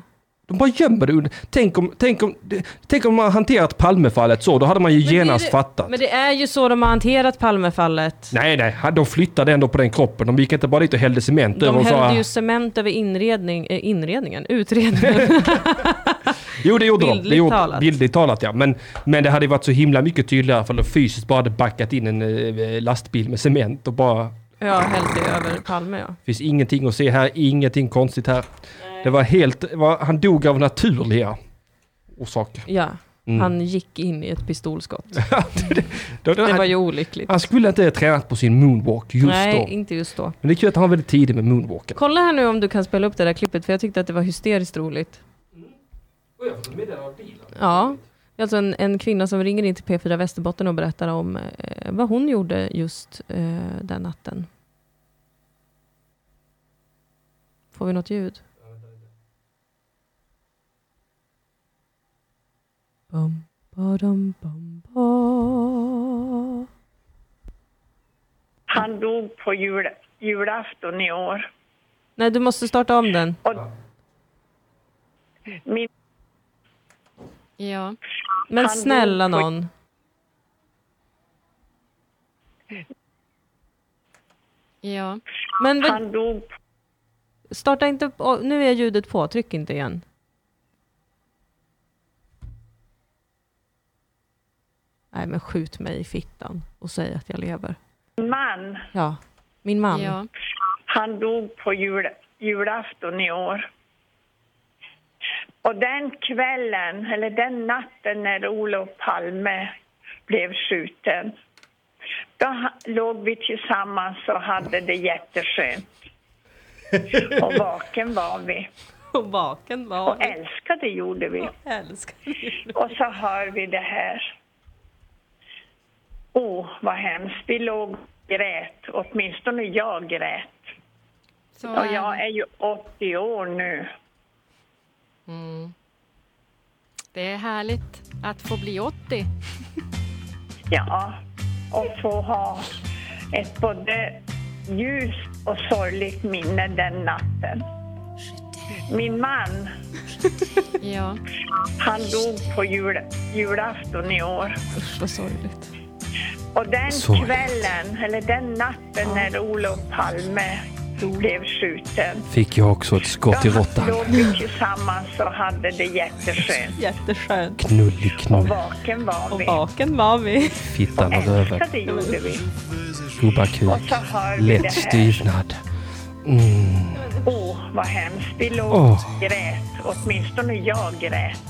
De bara gömmer det under. Tänk om, tänk om, det- tänk om man hanterat Palmefallet så, då hade man ju Men genast det är- fattat. Men det är ju så de har hanterat Palmefallet. Nej, nej, de flyttade ändå på den kroppen. De gick inte bara dit och hällde cement över De och sa, hällde ju cement över inredning, eh, inredningen, utredningen. Jo, det gjorde de. Det Bildligt gjorde, talat. Bildligt talat, ja. Men, men det hade ju varit så himla mycket tydligare för de fysiskt bara hade backat in en eh, lastbil med cement och bara... <laughs> ja, hällde över Palme ja. finns ingenting att se här, ingenting konstigt här. Det var helt... det Var, han dog av naturliga orsaker. Ja, Mm. han gick in i ett <laughs> pistolskott. Då- då- Det var ju han, olyckligt. han skulle inte ha tränat på sin moonwalk just Nej, då. inte just då. Men det är kul att han var väldigt tidig med moonwalken. Kolla här nu om du kan spela upp det där klippet, för jag tyckte att det var hysteriskt roligt. Ja, det är alltså en, en kvinna som ringer in till P4 Västerbotten och berättar om eh, vad hon gjorde just eh, den natten. Får vi något ljud? Bum, badum, bum, ba. Han dog på jul, julafton i år. Nej, du måste starta om den. Min, Ja. Men Han dog snälla på- någon. Ja. Men vad- han dog starta inte... på- Nu är ljudet på, tryck inte igen. Nej, men skjut mig i fittan och säg att jag lever. på man. Ja, min man. Han dog på jul, julafton i år. Och den kvällen, eller den natten när Olof Palme blev skjuten, då ha- låg vi tillsammans och hade <laughs> det jätteskönt. Och vaken var vi. Och vaken var Och älskade gjorde vi. Och så hör vi det här. Åh, oh, vad hemskt. Vi låg och grät. Åtminstone jag grät. och jag är ju 80 år nu. Mm. Det är härligt att få bli 80. Ja, och få ha ett både ljust och sorgligt minne den natten. Min man, Ja. han dog på jul, julafton i år. Usch, vad sorgligt. Och den Sorgligt. kvällen, eller den natten när Olof Palme blev skjuten, Fick jag också ett skott i råttan. låg vi tillsammans och hade det jätteskönt. Jätteskönt. Knull i Och knull. vaken var vi. Vaken var vi. Fittan och röven. Älskade gjorde vi. Och Tobakkuk. så hör vi det Lätt här. styvnad. Mm. Åh, vad hemskt. Vi låg Åh. och grät. Åtminstone jag grät.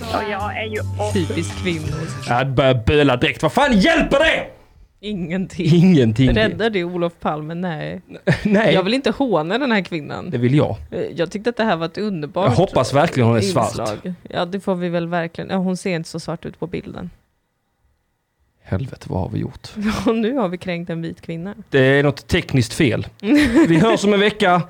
Och jag är ju 80 Typiskt kvinnor. Jag börjar böla direkt. Vad fan hjälper det? Ingenting. Ingenting. Räddar det Olof Palme? Nej. Nej. Jag vill inte håna den här kvinnan. Det vill jag. Eh, Jag tyckte att det här var ett underbart Jag hoppas verkligen hon är svart. inslag. Ja, det får vi väl verkligen. Ja, hon ser inte så svart ut på bilden. <laughs> Helvete, vad har vi gjort? Och nu har vi kränkt en vit kvinna. <laughs> Det är något tekniskt fel. Vi hörs om en vecka.